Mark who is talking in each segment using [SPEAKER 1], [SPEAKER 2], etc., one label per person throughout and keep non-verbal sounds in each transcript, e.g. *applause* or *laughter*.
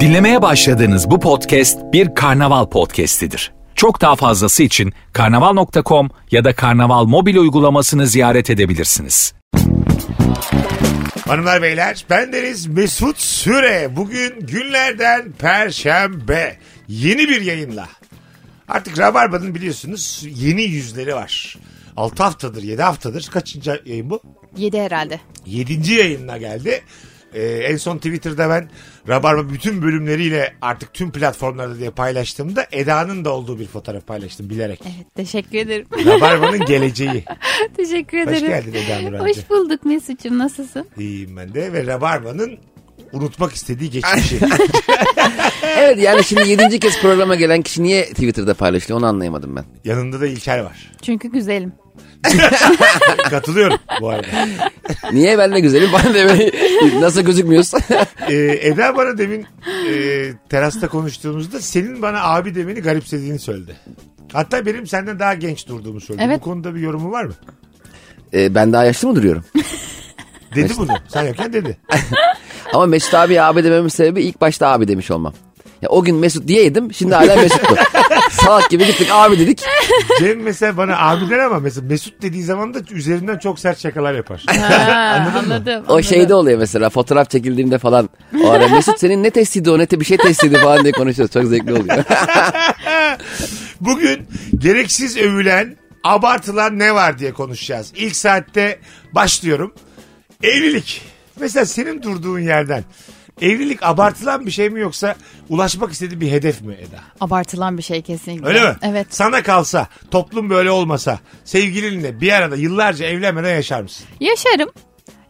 [SPEAKER 1] Dinlemeye başladığınız bu podcast bir karnaval podcastidir. Çok daha fazlası için karnaval.com ya da karnaval mobil uygulamasını ziyaret edebilirsiniz.
[SPEAKER 2] Hanımlar beyler ben Deniz Mesut Süre. Bugün günlerden perşembe yeni bir yayınla. Artık Rabarba'nın biliyorsunuz yeni yüzleri var. 6 haftadır 7 haftadır kaçıncı yayın bu?
[SPEAKER 3] 7 herhalde.
[SPEAKER 2] 7. yayınına geldi. Ee, en son Twitter'da ben Rabarba bütün bölümleriyle artık tüm platformlarda diye paylaştığımda Eda'nın da olduğu bir fotoğraf paylaştım bilerek.
[SPEAKER 3] Evet teşekkür ederim. *laughs*
[SPEAKER 2] Rabarba'nın geleceği.
[SPEAKER 3] teşekkür
[SPEAKER 2] Hoş
[SPEAKER 3] ederim.
[SPEAKER 2] geldin Eda Nurhan'cığım.
[SPEAKER 3] Hoş bulduk Mesut'cum nasılsın?
[SPEAKER 2] İyiyim ben de ve Rabarba'nın unutmak istediği geçmişi.
[SPEAKER 4] Evet yani şimdi yedinci kez programa gelen kişi niye Twitter'da paylaşılıyor onu anlayamadım ben.
[SPEAKER 2] Yanında da İlker var.
[SPEAKER 3] Çünkü güzelim.
[SPEAKER 2] *laughs* Katılıyorum bu arada.
[SPEAKER 4] Niye ben de güzelim bana de böyle *laughs* nasıl gözükmüyoruz?
[SPEAKER 2] Ee, Eda bana demin e, terasta konuştuğumuzda senin bana abi demeni garipsediğini söyledi. Hatta benim senden daha genç durduğumu söyledi.
[SPEAKER 3] Evet.
[SPEAKER 2] Bu konuda bir yorumu var mı?
[SPEAKER 4] Ee, ben daha yaşlı mı duruyorum?
[SPEAKER 2] Dedi bunu. Sen yokken dedi.
[SPEAKER 4] Ama Mesut abi abi dememin sebebi ilk başta abi demiş olmam. Ya o gün Mesut diyeydim şimdi hala Mesut'tu. Salak gibi gittik abi dedik.
[SPEAKER 2] Cem mesela bana abi der ama mesela Mesut dediği zaman da üzerinden çok sert şakalar yapar.
[SPEAKER 3] anladım, anladım.
[SPEAKER 4] O şeyde oluyor mesela fotoğraf çekildiğimde falan. O ara Mesut senin ne testiydi o ne te bir şey testiydi falan diye konuşuyoruz. Çok zevkli oluyor. *laughs*
[SPEAKER 2] Bugün gereksiz övülen, abartılan ne var diye konuşacağız. İlk saatte başlıyorum. Evlilik. Mesela senin durduğun yerden evlilik abartılan bir şey mi yoksa ulaşmak istediğin bir hedef mi Eda?
[SPEAKER 3] Abartılan bir şey kesinlikle.
[SPEAKER 2] Öyle mi?
[SPEAKER 3] Evet.
[SPEAKER 2] Sana kalsa, toplum böyle olmasa, sevgilinle bir arada yıllarca evlenmeden yaşar mısın?
[SPEAKER 3] Yaşarım.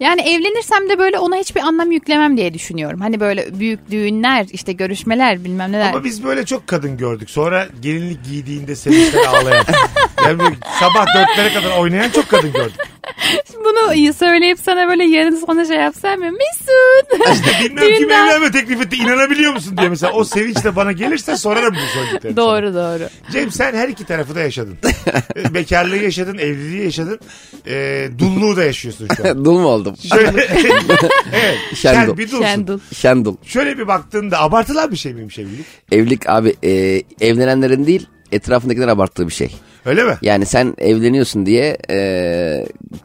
[SPEAKER 3] Yani evlenirsem de böyle ona hiçbir anlam yüklemem diye düşünüyorum. Hani böyle büyük düğünler, işte görüşmeler bilmem neler.
[SPEAKER 2] Ama biz böyle çok kadın gördük. Sonra gelinlik giydiğinde sevinçten ağlayan. yani böyle sabah dörtlere kadar oynayan çok kadın gördük.
[SPEAKER 3] Bunu söyleyip sana böyle yarın sonra şey yapsam mı? Mesut.
[SPEAKER 2] Bilmem kim
[SPEAKER 3] Düğünden-
[SPEAKER 2] evlenme teklif etti inanabiliyor musun diye mesela o sevinçle bana gelirse sorarım bu söylediklerini. sana.
[SPEAKER 3] doğru doğru.
[SPEAKER 2] Cem sen her iki tarafı da yaşadın. Ee, Bekarlığı yaşadın, evliliği yaşadın. Ee, dulluğu da yaşıyorsun şu
[SPEAKER 4] *laughs*
[SPEAKER 2] an.
[SPEAKER 4] Dul mu oldum?
[SPEAKER 2] Şöyle, evet, sen
[SPEAKER 4] Şendul.
[SPEAKER 2] bir dulsun.
[SPEAKER 3] Şendul.
[SPEAKER 4] Şendul.
[SPEAKER 2] Şöyle bir baktığında abartılan bir şey miymiş evlilik?
[SPEAKER 4] Evlilik abi e, evlenenlerin değil etrafındakilerin abarttığı bir şey.
[SPEAKER 2] Öyle mi?
[SPEAKER 4] Yani sen evleniyorsun diye e,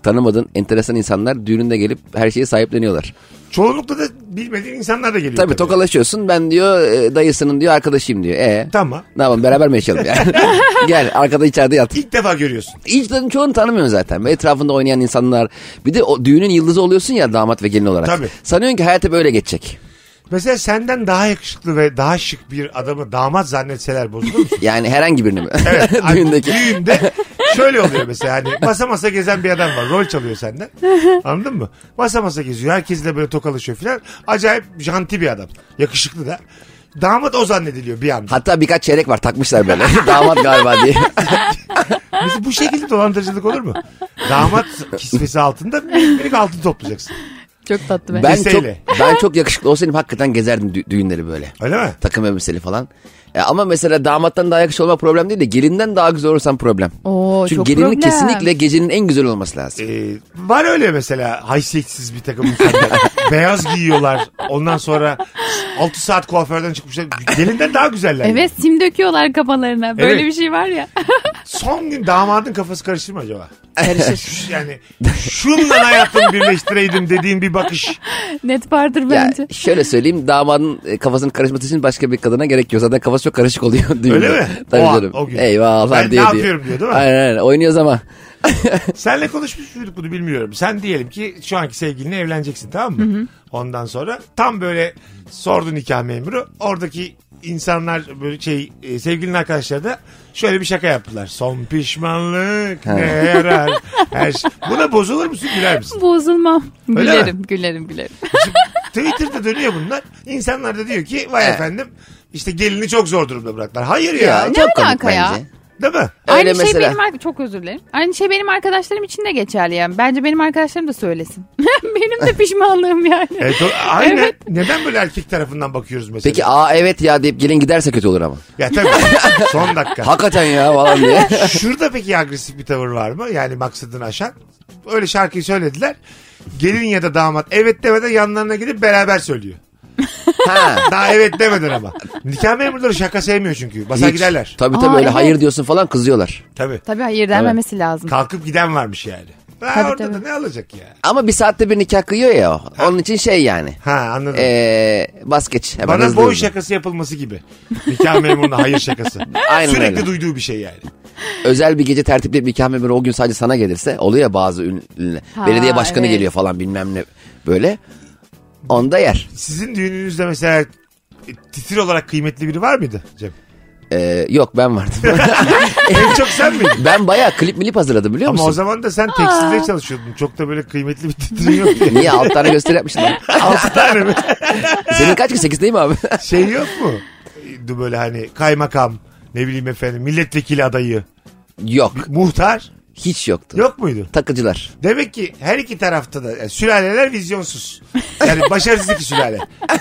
[SPEAKER 4] tanımadığın enteresan insanlar düğününde gelip her şeye sahipleniyorlar.
[SPEAKER 2] Çoğunlukla da bilmediğin insanlar da geliyor.
[SPEAKER 4] Tabii tokalaşıyorsun ben diyor e, dayısının diyor arkadaşıyım diyor. E
[SPEAKER 2] Tamam.
[SPEAKER 4] ne yapalım beraber mi
[SPEAKER 2] *laughs*
[SPEAKER 4] yaşayalım yani? *laughs* Gel arkada içeride yat.
[SPEAKER 2] İlk defa görüyorsun.
[SPEAKER 4] Hiç de çoğunu tanımıyorsun zaten. Ve Etrafında oynayan insanlar. Bir de o düğünün yıldızı oluyorsun ya damat ve gelin olarak.
[SPEAKER 2] Tabii.
[SPEAKER 4] Sanıyorsun ki hayatı böyle geçecek.
[SPEAKER 2] Mesela senden daha yakışıklı ve daha şık bir adamı damat zannetseler bozulur musun?
[SPEAKER 4] Yani herhangi birini mi?
[SPEAKER 2] Evet.
[SPEAKER 4] *laughs* Düğündeki.
[SPEAKER 2] Hani düğünde şöyle oluyor mesela hani masa masa gezen bir adam var. Rol çalıyor senden. Anladın mı? Masa masa geziyor. Herkesle böyle tokalaşıyor filan. Acayip janti bir adam. Yakışıklı da. Damat o zannediliyor bir anda.
[SPEAKER 4] Hatta birkaç çeyrek var takmışlar böyle. *laughs* damat galiba diye.
[SPEAKER 2] Mesela bu şekilde dolandırıcılık olur mu? Damat kisvesi altında minik altın toplayacaksın.
[SPEAKER 3] Çok tatlı be.
[SPEAKER 4] Ben çok,
[SPEAKER 2] Liseyle.
[SPEAKER 4] ben çok yakışıklı olsaydım hakikaten gezerdim dü- düğünleri böyle.
[SPEAKER 2] Öyle mi?
[SPEAKER 4] takım elbiseli falan. E, ama mesela damattan daha yakışıklı olmak problem değil de gelinden daha güzel olursan problem.
[SPEAKER 3] Oo,
[SPEAKER 4] Çünkü
[SPEAKER 3] çok
[SPEAKER 4] gelinin
[SPEAKER 3] problem. E,
[SPEAKER 4] kesinlikle gecenin en güzel olması lazım.
[SPEAKER 2] Ee, var öyle mesela haysiyetsiz bir takım insanlar. Beyaz giyiyorlar. Ondan sonra 6 saat kuaförden çıkmışlar. Gelinden daha güzeller.
[SPEAKER 3] Evet sim döküyorlar kafalarına. Böyle
[SPEAKER 2] Evet.
[SPEAKER 3] bir şey var ya. *laughs*
[SPEAKER 2] Son gün damadın kafası karışır mı acaba?
[SPEAKER 3] Karışır.
[SPEAKER 2] Şu- Yani şunla hayatımı birleştireydim dediğin bir bakış.
[SPEAKER 3] Net vardır
[SPEAKER 4] Ya
[SPEAKER 3] bence.
[SPEAKER 4] şöyle söyleyeyim damadın e, kafasının karışması için başka bir kadına gerek yok. Zaten kafası çok karışık oluyor *laughs* düğünde.
[SPEAKER 2] Öyle mi?
[SPEAKER 4] Tabii
[SPEAKER 2] O an,
[SPEAKER 4] canım.
[SPEAKER 2] o gün.
[SPEAKER 4] Eyvah falan
[SPEAKER 2] Ben ne
[SPEAKER 4] diye diye.
[SPEAKER 2] yapıyorum diyor değil mi?
[SPEAKER 4] Aynen aynen oynuyoruz ama.
[SPEAKER 2] Senle konuşmuş muyduk bunu bilmiyorum. Sen diyelim ki şu anki sevgilinle evleneceksin tamam mı? Ondan sonra tam böyle sordu nikah memuru. Oradaki insanlar böyle şey e, sevgilinin arkadaşları da şöyle bir şaka yaptılar. Son pişmanlık ne yarar? Her şey. Buna bozulur musun güler misin?
[SPEAKER 3] Bozulmam.
[SPEAKER 2] Öyle
[SPEAKER 3] Gülerim, gülerim, gülerim.
[SPEAKER 2] Şimdi Twitter'da dönüyor bunlar. İnsanlar da diyor ki vay
[SPEAKER 4] Evet.
[SPEAKER 2] efendim işte gelini çok zor durumda bıraktılar. Hayır ya.
[SPEAKER 4] Ya,
[SPEAKER 3] Ne
[SPEAKER 4] çok komik
[SPEAKER 3] alaka ya?
[SPEAKER 4] bence.
[SPEAKER 2] Değil mi?
[SPEAKER 4] Öyle
[SPEAKER 3] Aynı şey
[SPEAKER 4] mesela.
[SPEAKER 3] benim ar- çok özür dilerim. Aynı şey benim arkadaşlarım için de geçerli yani. Bence benim arkadaşlarım da söylesin. *laughs* benim de pişmanlığım yani.
[SPEAKER 2] Evet, o- aynen.
[SPEAKER 3] Evet.
[SPEAKER 2] Neden böyle erkek tarafından bakıyoruz mesela?
[SPEAKER 4] Peki aa evet ya deyip gelin giderse
[SPEAKER 2] *laughs*
[SPEAKER 4] kötü olur ama.
[SPEAKER 2] Ya tabii. Son dakika.
[SPEAKER 4] Hakikaten ya falan diye.
[SPEAKER 2] *laughs* Şurada peki agresif bir tavır var mı? Yani maksadını aşan. Öyle şarkıyı söylediler. Gelin ya da damat evet demeden yanlarına gidip beraber söylüyor.
[SPEAKER 4] Ha.
[SPEAKER 2] Daha evet demeden ama. Nikah memurları şaka sevmiyor çünkü. Basar
[SPEAKER 4] Hiç.
[SPEAKER 2] giderler.
[SPEAKER 4] Tabii tabii
[SPEAKER 3] Aa,
[SPEAKER 4] öyle
[SPEAKER 3] evet.
[SPEAKER 4] hayır diyorsun falan kızıyorlar.
[SPEAKER 2] Tabii.
[SPEAKER 3] Tabii hayır denmemesi lazım.
[SPEAKER 2] Kalkıp giden varmış yani. Ha,
[SPEAKER 3] Tabii,
[SPEAKER 2] orada da
[SPEAKER 3] tabii.
[SPEAKER 2] ne alacak ya?
[SPEAKER 4] Ama bir saatte bir nikah kıyıyor ya o. Onun için şey yani.
[SPEAKER 2] Ha anladım.
[SPEAKER 4] Ee, bas geç. Hemen
[SPEAKER 2] Bana
[SPEAKER 4] hızlı
[SPEAKER 2] boy
[SPEAKER 4] hızlı.
[SPEAKER 2] şakası yapılması gibi. Nikah memuruna hayır şakası.
[SPEAKER 4] *laughs* Aynen
[SPEAKER 2] Sürekli
[SPEAKER 4] öyle.
[SPEAKER 2] duyduğu bir şey yani.
[SPEAKER 4] Özel bir gece tertipleyip nikah memuru o gün sadece sana gelirse oluyor ya bazı ünlü. ünlü.
[SPEAKER 3] Ha,
[SPEAKER 4] Belediye başkanı
[SPEAKER 3] evet.
[SPEAKER 4] geliyor falan bilmem ne böyle. Onda yer.
[SPEAKER 2] Sizin düğününüzde mesela e, titir olarak kıymetli biri var mıydı Cem?
[SPEAKER 4] Ee, yok ben vardım. *laughs*
[SPEAKER 2] en çok sen miydin?
[SPEAKER 4] ben bayağı klip milip hazırladım biliyor
[SPEAKER 2] Ama
[SPEAKER 4] musun?
[SPEAKER 2] o zaman da sen tekstilde çalışıyordun. Çok da böyle kıymetli bir titrin yok
[SPEAKER 4] *laughs*
[SPEAKER 2] diye.
[SPEAKER 4] Niye alt tane gösteri yapmıştın?
[SPEAKER 2] *laughs* Altı tane mi?
[SPEAKER 4] *laughs* Senin kaç ki 8 değil mi abi? *laughs*
[SPEAKER 2] Şey yok mu? E, Böyle hani kaymakam, ne bileyim efendim milletvekili adayı,
[SPEAKER 4] yok.
[SPEAKER 2] muhtar
[SPEAKER 4] Hiç yoktu.
[SPEAKER 2] yok muydu?
[SPEAKER 4] Takıcılar.
[SPEAKER 2] Demek ki her iki tarafta da yani sülaleler vizyonsuz. Yani başarısız iki sülale.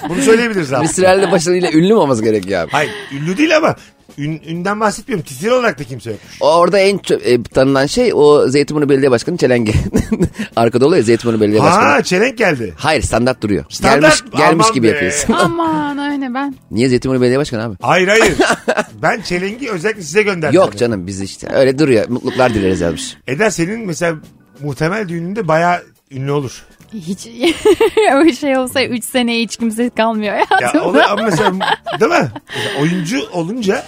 [SPEAKER 2] Bunu
[SPEAKER 4] *laughs*
[SPEAKER 2] söyleyebiliriz abi.
[SPEAKER 4] Bir sürelde başarıyla ünlü mü olması gerekiyor abi?
[SPEAKER 2] Hayır ünlü değil ama ün, ünden bahsetmiyorum. Titir olarak da kimse yok.
[SPEAKER 4] O- Orada en çö- e, tanınan şey o Zeytinburnu Belediye Başkanı Çelengi. *laughs* Arkada oluyor ya şey- Zeytinburnu Belediye Başkanı.
[SPEAKER 2] Ha çelenk geldi.
[SPEAKER 4] Hayır standart duruyor.
[SPEAKER 2] Standart-
[SPEAKER 4] gelmiş gelmiş
[SPEAKER 2] Aman
[SPEAKER 4] gibi
[SPEAKER 2] be.
[SPEAKER 3] *laughs*
[SPEAKER 4] yapıyorsun. *laughs*
[SPEAKER 3] Aman öyle ben.
[SPEAKER 4] Niye Zeytinburnu Belediye Başkanı abi?
[SPEAKER 2] Hayır
[SPEAKER 4] *laughs*
[SPEAKER 2] hayır. ben çelengi özellikle size gönderdim.
[SPEAKER 4] Yok canım biz işte öyle duruyor. Mutluluklar dileriz yazmış.
[SPEAKER 2] Eda senin mesela muhtemel düğününde bayağı ünlü olur.
[SPEAKER 3] Hiç *laughs* o şey olsa 3 seneye hiç kimse kalmıyor
[SPEAKER 2] Ya
[SPEAKER 3] hayatımda.
[SPEAKER 2] olur ama mesela değil mi? Mesela oyuncu olunca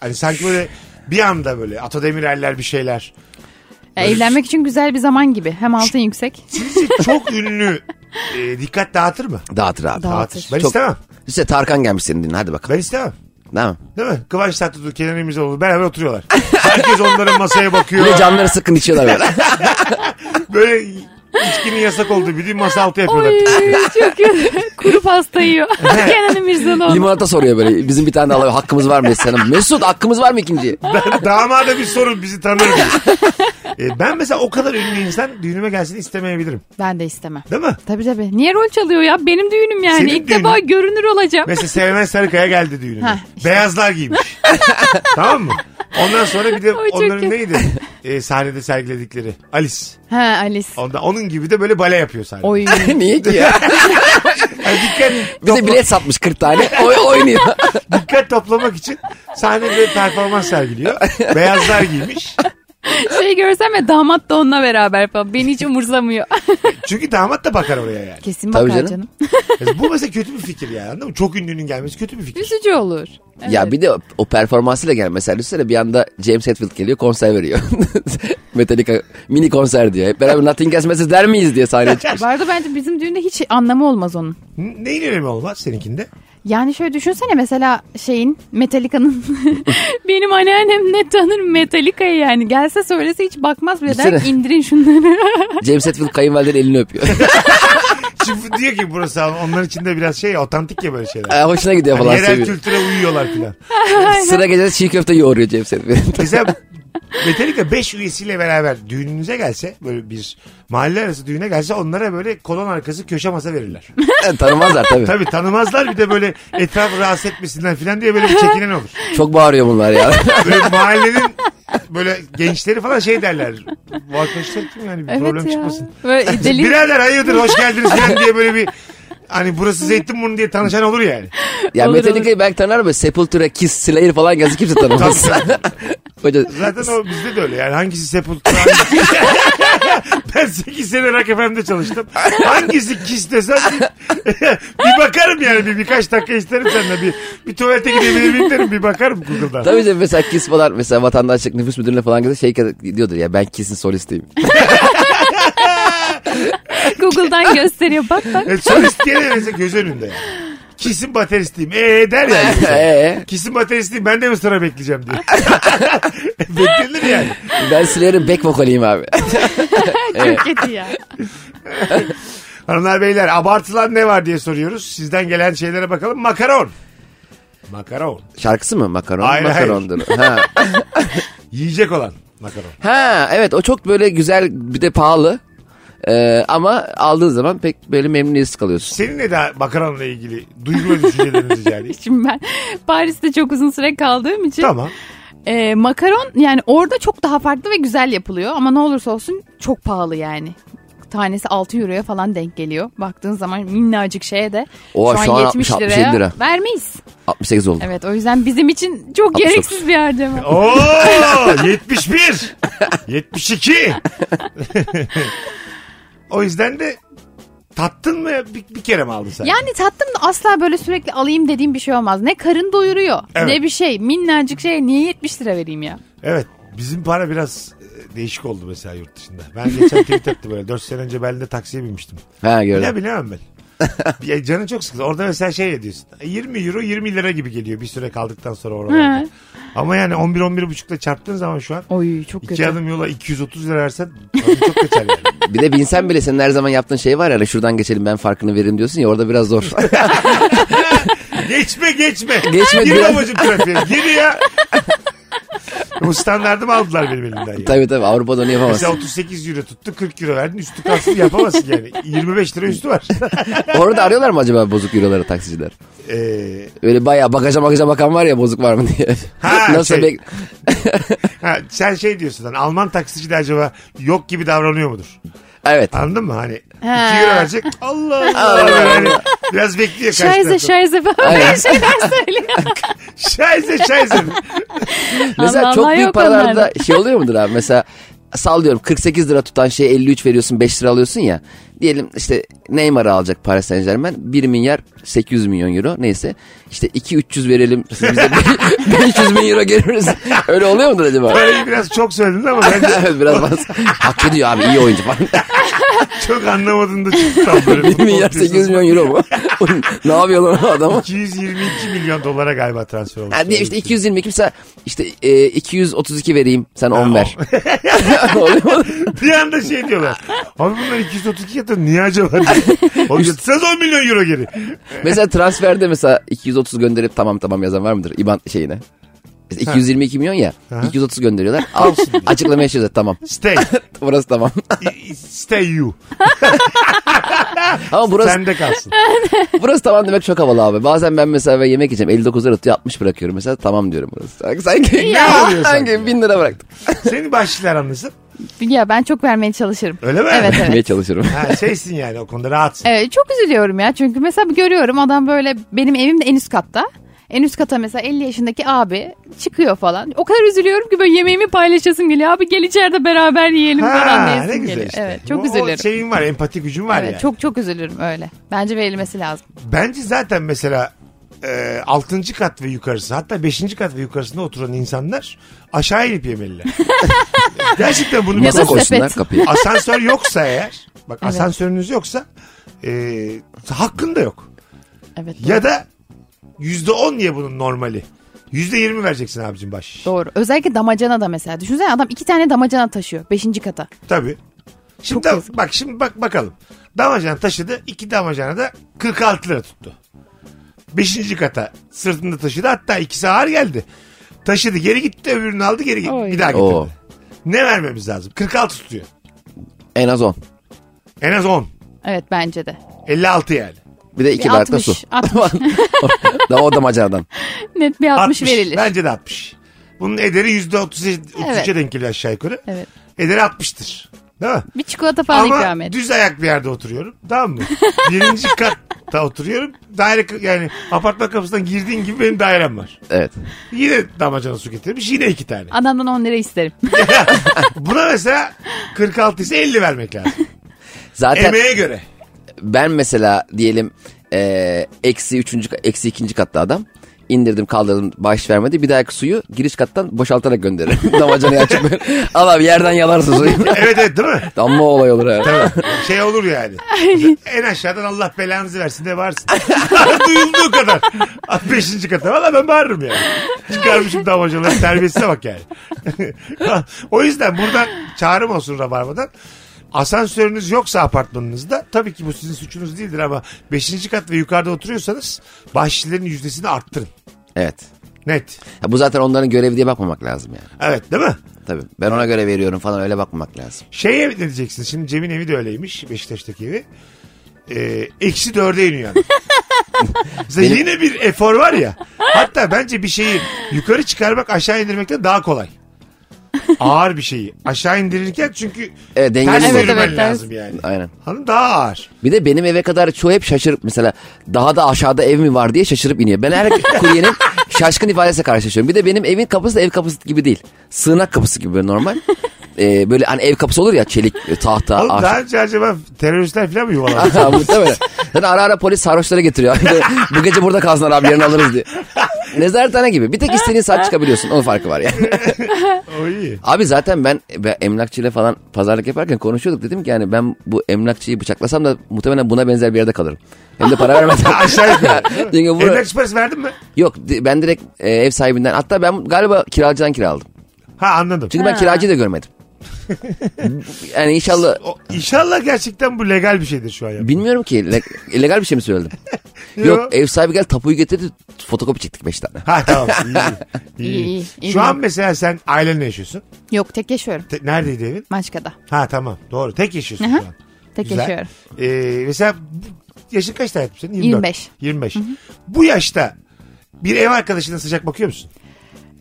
[SPEAKER 2] hani sanki böyle bir anda böyle Ata Demirer'ler bir şeyler.
[SPEAKER 3] Ya evlenmek için güzel bir zaman gibi. Hem altın yüksek.
[SPEAKER 2] Sizi çok ünlü e, dikkat dağıtır mı?
[SPEAKER 4] Dağıtır abi.
[SPEAKER 3] Dağıtır.
[SPEAKER 2] Dağıtır. Ben
[SPEAKER 4] Çok-
[SPEAKER 2] istemem.
[SPEAKER 4] İşte Tarkan gelmiş senin dinle hadi bakalım.
[SPEAKER 2] Ben istemem.
[SPEAKER 4] Tamam.
[SPEAKER 2] Değil mi? Kıvanç Tatlıtuğ, Kenan İmirzalıoğlu beraber oturuyorlar. Herkes onların masaya bakıyor.
[SPEAKER 4] Bir de canları sıkın içiyorlar böyle.
[SPEAKER 2] Böyle içkinin yasak olduğu bildiğin masa altı yapıyorlar.
[SPEAKER 3] Oy
[SPEAKER 2] *laughs*
[SPEAKER 3] çok kötü. Kuru pasta yiyor. Kenan İmirzalıoğlu.
[SPEAKER 4] Limonata soruyor böyle. Bizim bir tane de alıyor. Hakkımız var mı Mesut Hanım? Mesut hakkımız var mı ikinci?
[SPEAKER 2] Ben, damada bir sorun bizi tanır diye. E, ben mesela o kadar ünlü insan düğünüme gelsin istemeyebilirim.
[SPEAKER 3] Ben de istemem.
[SPEAKER 2] Değil mi?
[SPEAKER 3] Tabii tabii. Niye rol çalıyor ya? Benim düğünüm yani.
[SPEAKER 2] Senin
[SPEAKER 3] İlk
[SPEAKER 2] düğünün.
[SPEAKER 3] defa görünür olacağım.
[SPEAKER 2] Mesela Serenay Sarıkaya geldi düğünüme.
[SPEAKER 3] Hah, işte.
[SPEAKER 2] Beyazlar giymiş. tamam mı? Ondan sonra bir de
[SPEAKER 3] Ay, çok
[SPEAKER 2] onların
[SPEAKER 3] iyi.
[SPEAKER 2] neydi? E, sahnede sergiledikleri. Alice.
[SPEAKER 3] Ha Alice.
[SPEAKER 2] Onda, onun gibi de böyle bale yapıyor sahnede.
[SPEAKER 3] Oy.
[SPEAKER 4] Niye ki ya?
[SPEAKER 2] Yani dikkat,
[SPEAKER 4] Bize bilet satmış 40 tane. Oy, oynuyor.
[SPEAKER 2] dikkat toplamak için sahnede performans sergiliyor. Beyazlar giymiş.
[SPEAKER 3] şey görsem ya damat da onunla beraber falan. Beni hiç umursamıyor.
[SPEAKER 2] Çünkü damat da bakar oraya yani.
[SPEAKER 3] *laughs* Kesin
[SPEAKER 4] Tabii
[SPEAKER 3] bakar
[SPEAKER 4] canım.
[SPEAKER 3] canım.
[SPEAKER 2] Mesela bu mesela kötü bir fikir yani anladın mı? Çok ünlünün gelmesi kötü bir fikir.
[SPEAKER 3] Üzücü olur.
[SPEAKER 4] Ya
[SPEAKER 3] Evet.
[SPEAKER 4] bir de o, o performansıyla gel. Mesela düşünsene bir anda James Hetfield geliyor konser veriyor. *laughs* Metallica mini konser diyor. Hep beraber Nothing Else Matters der miyiz diye sahneye çıkıyor.
[SPEAKER 3] Bu arada bence bizim düğünde hiç anlamı olmaz onun.
[SPEAKER 2] N- Neyin önemi olmaz seninkinde?
[SPEAKER 3] Yani şöyle düşünsene mesela şeyin Metallica'nın *laughs* benim anneannem ne tanır Metallica'yı yani gelse söylese hiç bakmaz bile der
[SPEAKER 4] Düşünsene.
[SPEAKER 3] ki, indirin
[SPEAKER 4] *laughs*
[SPEAKER 3] şunları.
[SPEAKER 4] James Hetfield kayınvalidenin elini öpüyor.
[SPEAKER 2] Şimdi diyor ki burası abi, onların içinde biraz şey otantik ya böyle şeyler.
[SPEAKER 4] Ee, Hoşuna gidiyor
[SPEAKER 2] Hani
[SPEAKER 4] falan
[SPEAKER 2] yerel
[SPEAKER 4] seviyor.
[SPEAKER 2] kültüre uyuyorlar filan.
[SPEAKER 4] Sıra gecede çiğ köfte yoğuruyor
[SPEAKER 2] *laughs*
[SPEAKER 4] James Hetfield.
[SPEAKER 2] Mesela Metallica 5 üyesiyle beraber düğününüze gelse böyle bir mahalle arası düğüne gelse onlara böyle kolon arkası köşe masa verirler.
[SPEAKER 4] E, Tanımazlar tabii.
[SPEAKER 2] Tabii tanımazlar bir de böyle etrafı rahatsız etmesinler filan diye böyle bir çekinen olur.
[SPEAKER 4] Çok bağırıyor bunlar ya.
[SPEAKER 2] Böyle mahallenin böyle gençleri falan şey derler. Bu arkadaşlar kim yani bir problem
[SPEAKER 3] evet ya.
[SPEAKER 2] çıkmasın. *laughs*
[SPEAKER 3] Böyle deli,
[SPEAKER 2] Birader hayırdır hoş geldiniz falan diye böyle bir hani burası Zeytinburnu diye tanışan olur yani.
[SPEAKER 4] Ya
[SPEAKER 3] Olur,
[SPEAKER 4] Metallica'yı belki tanır mı? Sepultura, Kiss, Slayer falan gelse kimse tanımaz. *laughs* Hoca,
[SPEAKER 2] Zaten o bizde de öyle yani hangisi Sepultura hangisi... *laughs* ben 8 sene Rock FM'de çalıştım. Hangisi Kiss desem bir, *laughs* bir bakarım yani bir, birkaç dakika isterim senden bir, bir tuvalete gidebilir miyim derim bir bakarım Google'dan.
[SPEAKER 4] tabii canım mesela Kiss falan mesela vatandaşlık nüfus müdürlüğüne falan gelse şey diyordur ya ben Kiss'in solistiyim.
[SPEAKER 3] Google'dan gösteriyor bak bak.
[SPEAKER 2] E, solist diye de mesela göz önünde yani. Kiss'in bateristiyim. Eee der yani.
[SPEAKER 4] Ee,
[SPEAKER 2] Kiss'in bateristiyim ben de mi sıra bekleyeceğim *laughs* diye. Beklenir yani.
[SPEAKER 4] ben Slayer'in back vokaliyim abi.
[SPEAKER 3] Çok kötü ya.
[SPEAKER 2] Hanımlar beyler abartılan ne var diye soruyoruz. Sizden gelen şeylere bakalım. Makaron. Makaron.
[SPEAKER 4] Şarkısı mı? Makaron.
[SPEAKER 2] Hayır, hayır.
[SPEAKER 4] Makarondur. Ha.
[SPEAKER 2] Yiyecek olan makaron.
[SPEAKER 4] ha evet o çok böyle güzel bir de pahalı. Ee, ama aldığın zaman pek böyle memnuniyetsiz kalıyorsun.
[SPEAKER 2] Senin ne daha makaronla ilgili duygu ve düşünceleriniz rica
[SPEAKER 3] *laughs*
[SPEAKER 2] edeyim.
[SPEAKER 3] Şimdi ben Paris'te çok uzun süre kaldığım için
[SPEAKER 2] Tamam.
[SPEAKER 3] e, makaron yani orada çok daha farklı ve güzel yapılıyor ama ne olursa olsun çok pahalı yani. tanesi 6 euroya falan denk geliyor. Baktığın zaman minnacık şeye de
[SPEAKER 4] Oha,
[SPEAKER 3] şu,
[SPEAKER 4] şu
[SPEAKER 3] an
[SPEAKER 4] an
[SPEAKER 3] 70
[SPEAKER 4] 60-67
[SPEAKER 3] liraya
[SPEAKER 4] lira.
[SPEAKER 3] vermeyiz.
[SPEAKER 4] 68 oldu.
[SPEAKER 3] Evet o yüzden bizim için çok
[SPEAKER 4] 69.
[SPEAKER 3] gereksiz bir harcama.
[SPEAKER 2] Oo 71 72 *laughs* O yüzden de tattın mı bir, bir kere mi aldın sen?
[SPEAKER 3] Yani tattım da asla böyle sürekli alayım dediğim bir şey olmaz. Ne karın doyuruyor
[SPEAKER 2] Evet.
[SPEAKER 3] ne bir şey. Minnacık şeye niye 70 lira vereyim ya?
[SPEAKER 2] Evet. Bizim para biraz e, değişik oldu mesela yurt dışında. Ben geçen tweet attım böyle. 4 sene önce Berlin'de taksiye binmiştim.
[SPEAKER 4] Ha
[SPEAKER 2] Ya
[SPEAKER 4] gördüm.
[SPEAKER 2] bilemem ben. ya canın çok sıkıldı. Orada mesela şey ediyorsun. 20 euro 20 lira gibi geliyor bir süre kaldıktan sonra oralarda.
[SPEAKER 3] He.
[SPEAKER 2] Ama yani 11 11 buçukta çarptığın zaman şu an
[SPEAKER 3] Oy çok
[SPEAKER 2] iki
[SPEAKER 3] kötü.
[SPEAKER 2] adım yola 230 lira versen paran çok kaçar yani.
[SPEAKER 4] Bir de binsen bile senin her zaman yaptığın şey var ya hani şuradan geçelim ben farkını veririm diyorsun ya orada biraz
[SPEAKER 2] *laughs*
[SPEAKER 4] zor.
[SPEAKER 2] Geçme geçme.
[SPEAKER 4] Geçme
[SPEAKER 2] Gir
[SPEAKER 4] diyor.
[SPEAKER 2] babacım trafiğe. Gir ya. Bu standartımı aldılar benim elimden ya.
[SPEAKER 4] tabii tabii Avrupa'da onu yapamazsın.
[SPEAKER 2] Mesela 38 euro tuttu 40 euro verdin üstü kalsın yapamazsın yani. 25 lira üstü var. *laughs*
[SPEAKER 4] Orada arıyorlar mı acaba bozuk euroları taksiciler?
[SPEAKER 2] Ee,
[SPEAKER 4] Öyle bayağı bagaja bagaja bakan var ya bozuk var mı diye.
[SPEAKER 2] Ha,
[SPEAKER 4] *laughs* Nasıl
[SPEAKER 2] şey.
[SPEAKER 4] bek-
[SPEAKER 2] ha, sen şey diyorsun lan Alman taksici de acaba yok gibi davranıyor mudur?
[SPEAKER 4] Evet.
[SPEAKER 2] Anladın mı? Hani 2
[SPEAKER 3] Ha.
[SPEAKER 2] euro verecek. Allah Allah. Yani biraz bekliyor karşı
[SPEAKER 3] Şayze
[SPEAKER 2] tarafta.
[SPEAKER 3] şayze falan
[SPEAKER 4] Aynen.
[SPEAKER 3] böyle *laughs* şeyler söylüyor.
[SPEAKER 2] Şayze şayze.
[SPEAKER 4] Mesela
[SPEAKER 3] Allah
[SPEAKER 4] çok
[SPEAKER 3] Allah,
[SPEAKER 4] büyük
[SPEAKER 3] yok onlar.
[SPEAKER 4] paralarda *laughs* şey oluyor mudur abi? Mesela sallıyorum 48 lira tutan şeye 53 veriyorsun 5 lira alıyorsun ya. Diyelim işte Neymar'ı alacak Paris Saint Germain 1 milyar 800 milyon euro neyse. işte 2-300 verelim siz bize *laughs* 500 bin euro geliriz. Öyle oluyor mudur acaba?
[SPEAKER 2] Parayı biraz çok söyledin ama bence
[SPEAKER 4] *laughs* evet biraz fazla. Hak ediyor abi iyi oyuncu *laughs* falan.
[SPEAKER 2] çok anlamadın da çıktı. tam
[SPEAKER 4] *laughs*
[SPEAKER 2] böyle
[SPEAKER 4] 1 milyar
[SPEAKER 2] futbol
[SPEAKER 4] 800 milyon euro *laughs* mu? ne yapıyor lan o adam?
[SPEAKER 2] 222 milyon dolara galiba transfer olmuş.
[SPEAKER 4] Ha, diye işte 222 mesela işte e, 232 vereyim sen 10 *laughs* ver. *laughs* Oluyor mu?
[SPEAKER 2] Bir anda şey diyorlar. Abi bunlar 232 yatır niye acaba?
[SPEAKER 4] *laughs*
[SPEAKER 2] O yatsanız 10 milyon euro geri.
[SPEAKER 4] Mesela transferde mesela 230 gönderip tamam tamam yazan var mıdır İban şeyine? Mesela 222 milyon ya.
[SPEAKER 2] Ha.
[SPEAKER 4] 230 gönderiyorlar. *laughs* Al açıklamaya şey yazıyor, tamam. *laughs*
[SPEAKER 2] Stay.
[SPEAKER 4] Burası tamam.
[SPEAKER 2] I- Stay you.
[SPEAKER 4] Ama burası
[SPEAKER 2] Sende kalsın.
[SPEAKER 4] burası tamam demek çok havalı abi. Bazen ben mesela ben yemek yiyeceğim 59 lira tutuyor 60 bırakıyorum mesela tamam diyorum burası. Sanki *laughs* sanki,
[SPEAKER 2] Ne oluyor sanki?
[SPEAKER 4] sanki 1000 lira bıraktık.
[SPEAKER 2] Seni başlılar anlasın.
[SPEAKER 3] Ya ben çok vermeye çalışırım.
[SPEAKER 2] Öyle mi?
[SPEAKER 3] Evet evet. *laughs*
[SPEAKER 4] Yemeye çalışıyorum.
[SPEAKER 2] Ha, şeysin yani o konuda rahatsın.
[SPEAKER 3] Evet, Ee, çok üzülüyorum ya çünkü mesela görüyorum adam böyle benim evim de en üst katta. En üst kata mesela 50 yaşındaki abi çıkıyor falan. O kadar üzülüyorum ki böyle yemeğimi paylaşasım geliyor. Abi gel içeride beraber yiyelim falan
[SPEAKER 2] Ha,
[SPEAKER 3] diyesim
[SPEAKER 2] ne güzel
[SPEAKER 3] geliyor.
[SPEAKER 2] işte.
[SPEAKER 3] Evet çok
[SPEAKER 2] O- O
[SPEAKER 3] üzülüyorum.
[SPEAKER 2] şeyin var empati gücün var
[SPEAKER 3] evet,
[SPEAKER 2] yani.
[SPEAKER 3] Çok çok üzülürüm öyle. Bence verilmesi lazım.
[SPEAKER 2] Bence zaten mesela e, 6. kat ve yukarısı hatta 5. kat ve yukarısında oturan insanlar aşağı inip
[SPEAKER 3] *laughs*
[SPEAKER 2] yemeliler. Gerçekten bunu
[SPEAKER 3] Ya da
[SPEAKER 4] Masa
[SPEAKER 2] mesela-
[SPEAKER 4] koysunlar
[SPEAKER 3] sepet.
[SPEAKER 4] kapıya.
[SPEAKER 2] asansör yoksa eğer bak
[SPEAKER 3] Evet.
[SPEAKER 2] asansörünüz yoksa e, hakkın da yok.
[SPEAKER 3] Evet doğru.
[SPEAKER 2] Ya da %10 ya bunun normali. %20 vereceksin abicim baş.
[SPEAKER 3] doğru. Özellikle damacana da mesela. Düşünsene adam iki tane damacana taşıyor 5. kata.
[SPEAKER 2] Tabii. Şimdi
[SPEAKER 3] Çok
[SPEAKER 2] da- bak şimdi bak bakalım. Damacana taşıdı. iki damacana da 46 lira tuttu. Beşinci kata sırtında taşıdı. Hatta ikisi ağır geldi. Taşıdı geri gitti öbürünü aldı geri gitti.
[SPEAKER 3] Oy.
[SPEAKER 2] Bir daha getirdi.
[SPEAKER 4] Oo,
[SPEAKER 2] Ne vermemiz lazım? 46 tutuyor.
[SPEAKER 4] en az 10.
[SPEAKER 2] En az 10.
[SPEAKER 3] Evet bence de.
[SPEAKER 2] 56 yani.
[SPEAKER 4] Bir de
[SPEAKER 3] Bir
[SPEAKER 4] 2 bardak da
[SPEAKER 3] 60,
[SPEAKER 4] su.
[SPEAKER 3] 60.
[SPEAKER 2] *laughs*
[SPEAKER 4] Daha
[SPEAKER 3] *laughs*
[SPEAKER 4] o damacanadan.
[SPEAKER 3] Net bir
[SPEAKER 2] 60.
[SPEAKER 3] 60, verilir.
[SPEAKER 2] Bence de 60. Bunun ederi %33'e
[SPEAKER 3] Evet.
[SPEAKER 2] denk geliyor aşağı yukarı.
[SPEAKER 3] Evet.
[SPEAKER 2] Ederi 60'tır. Değil mi?
[SPEAKER 3] Bir çikolata falan
[SPEAKER 2] Ama
[SPEAKER 3] ikram et.
[SPEAKER 2] düz ayak bir yerde oturuyorum. Tamam mı?
[SPEAKER 3] *laughs*
[SPEAKER 2] Birinci katta oturuyorum. Daire yani apartman kapısından girdiğin gibi benim dairem var.
[SPEAKER 4] Evet.
[SPEAKER 2] Yine damacana su getirmiş. Yine iki tane.
[SPEAKER 3] Adamdan 10 lira isterim. *laughs*
[SPEAKER 2] Buna mesela 46 ise 50 vermek lazım.
[SPEAKER 4] Zaten
[SPEAKER 2] Emeğe göre.
[SPEAKER 4] ben mesela diyelim eee, eksi üçüncü eksi ikinci katta adam indirdim kaldırdım baş vermedi bir dahaki suyu giriş kattan
[SPEAKER 3] *laughs*
[SPEAKER 4] boşaltarak gönderirim damacanayı açıp böyle al abi yerden yalarsın suyu
[SPEAKER 2] Evet evet değil mi?
[SPEAKER 4] amma olay olur ha.
[SPEAKER 2] Şey olur yani. en aşağıdan Allah belanızı versin de varsın. *laughs* Duyulduğu kadar. Ah, Beşinci kata. Valla ben bağırırım yani. Çıkarmışım damacaları. Terbiyesize bak yani. *laughs* Ah, o yüzden buradan çağrım olsun Rabarba'dan. Asansörünüz yoksa apartmanınızda tabii ki bu sizin suçunuz değildir ama beşinci kat ve yukarıda oturuyorsanız bahşişlerin yüzdesini arttırın.
[SPEAKER 4] evet
[SPEAKER 2] Net.
[SPEAKER 4] Ya bu zaten onların görevi diye bakmamak lazım yani
[SPEAKER 2] Evet değil mi?
[SPEAKER 4] tabii ben ona göre veriyorum falan öyle bakmamak lazım
[SPEAKER 2] Şeye ne diyeceksin? Şimdi Cem'in evi de öyleymiş. Beşiktaş'taki evi. Ee, eksi dörde iniyor
[SPEAKER 4] *laughs*
[SPEAKER 2] adam. Mesela
[SPEAKER 4] Benim-
[SPEAKER 2] yine bir efor var ya. Hatta bence bir şeyi yukarı çıkarmak aşağı indirmekten daha kolay. ağır bir şeyi aşağı indirirken çünkü
[SPEAKER 4] Evet, dengeli
[SPEAKER 2] ters
[SPEAKER 4] mi?
[SPEAKER 2] çevirmen
[SPEAKER 3] Evet, evet,
[SPEAKER 2] lazım
[SPEAKER 3] ters.
[SPEAKER 2] yani.
[SPEAKER 4] Aynen.
[SPEAKER 2] Hanım daha ağır.
[SPEAKER 4] Bir de benim eve kadar çoğu hep şaşırıp mesela daha da aşağıda ev mi var diye şaşırıp iniyor. Ben her *laughs* kuryenin şaşkın ifadesiyle karşılaşıyorum. Bir de benim evin kapısı da ev kapısı gibi değil. Sığınak kapısı gibi böyle normal. Ee, böyle hani ev kapısı olur ya çelik, e, tahta,
[SPEAKER 2] Oğlum
[SPEAKER 4] ahşap. *laughs*
[SPEAKER 2] daha önce acaba teröristler falan mı yuvalandı?
[SPEAKER 4] Ha, Muhtemelen. Zaten ara ara polis sarhoşları getiriyor. Bu gece burada kalsınlar abi yarın alırız diye. Nezarethane gibi. Bir tek istediğin saat çıkabiliyorsun. Onun farkı var yani.
[SPEAKER 2] o iyi.
[SPEAKER 4] Abi zaten ben, ben emlakçıyla falan pazarlık yaparken konuşuyorduk. Dedim ki yani ben bu emlakçıyı bıçaklasam da muhtemelen buna benzer bir yerde kalırım. Hem de para
[SPEAKER 2] *laughs*
[SPEAKER 4] vermeden. *laughs*
[SPEAKER 2] Aşağı yukarı.
[SPEAKER 4] Çünkü bu-
[SPEAKER 2] Emlak parası verdin mi?
[SPEAKER 4] Yok di- ben direkt e, ev sahibinden hatta ben galiba kiracıdan kiraladım.
[SPEAKER 2] Ha anladım.
[SPEAKER 4] Çünkü ben
[SPEAKER 3] Ha.
[SPEAKER 4] kiracıyı
[SPEAKER 2] *laughs*
[SPEAKER 4] da görmedim. yani inşallah
[SPEAKER 2] O, inşallah gerçekten bu legal bir şeydir şu an. yaptığın.
[SPEAKER 4] bilmiyorum ki le- illegal bir şey mi söyledim?
[SPEAKER 2] *laughs* Yo.
[SPEAKER 4] Yok ev sahibi gel tapuyu getirdi fotokopi çektik 5 tane.
[SPEAKER 2] Ha tamam. İyi.
[SPEAKER 3] *laughs*
[SPEAKER 2] iyi.
[SPEAKER 3] İyi, iyi, iyi.
[SPEAKER 2] Şu an mesela sen ailenle yaşıyorsun.
[SPEAKER 3] Yok tek yaşıyorum.
[SPEAKER 2] Te- neredeydi evin?
[SPEAKER 3] Maçka'da.
[SPEAKER 2] Ha tamam. Doğru. Tek yaşıyorsun
[SPEAKER 3] Aha.
[SPEAKER 2] şu an.
[SPEAKER 3] Tek
[SPEAKER 2] Güzel.
[SPEAKER 3] yaşıyorum.
[SPEAKER 2] Ee, mesela bu- yaşın kaç tane senin?
[SPEAKER 3] 25.
[SPEAKER 2] 25. Bu yaşta bir ev arkadaşına sıcak bakıyor musun?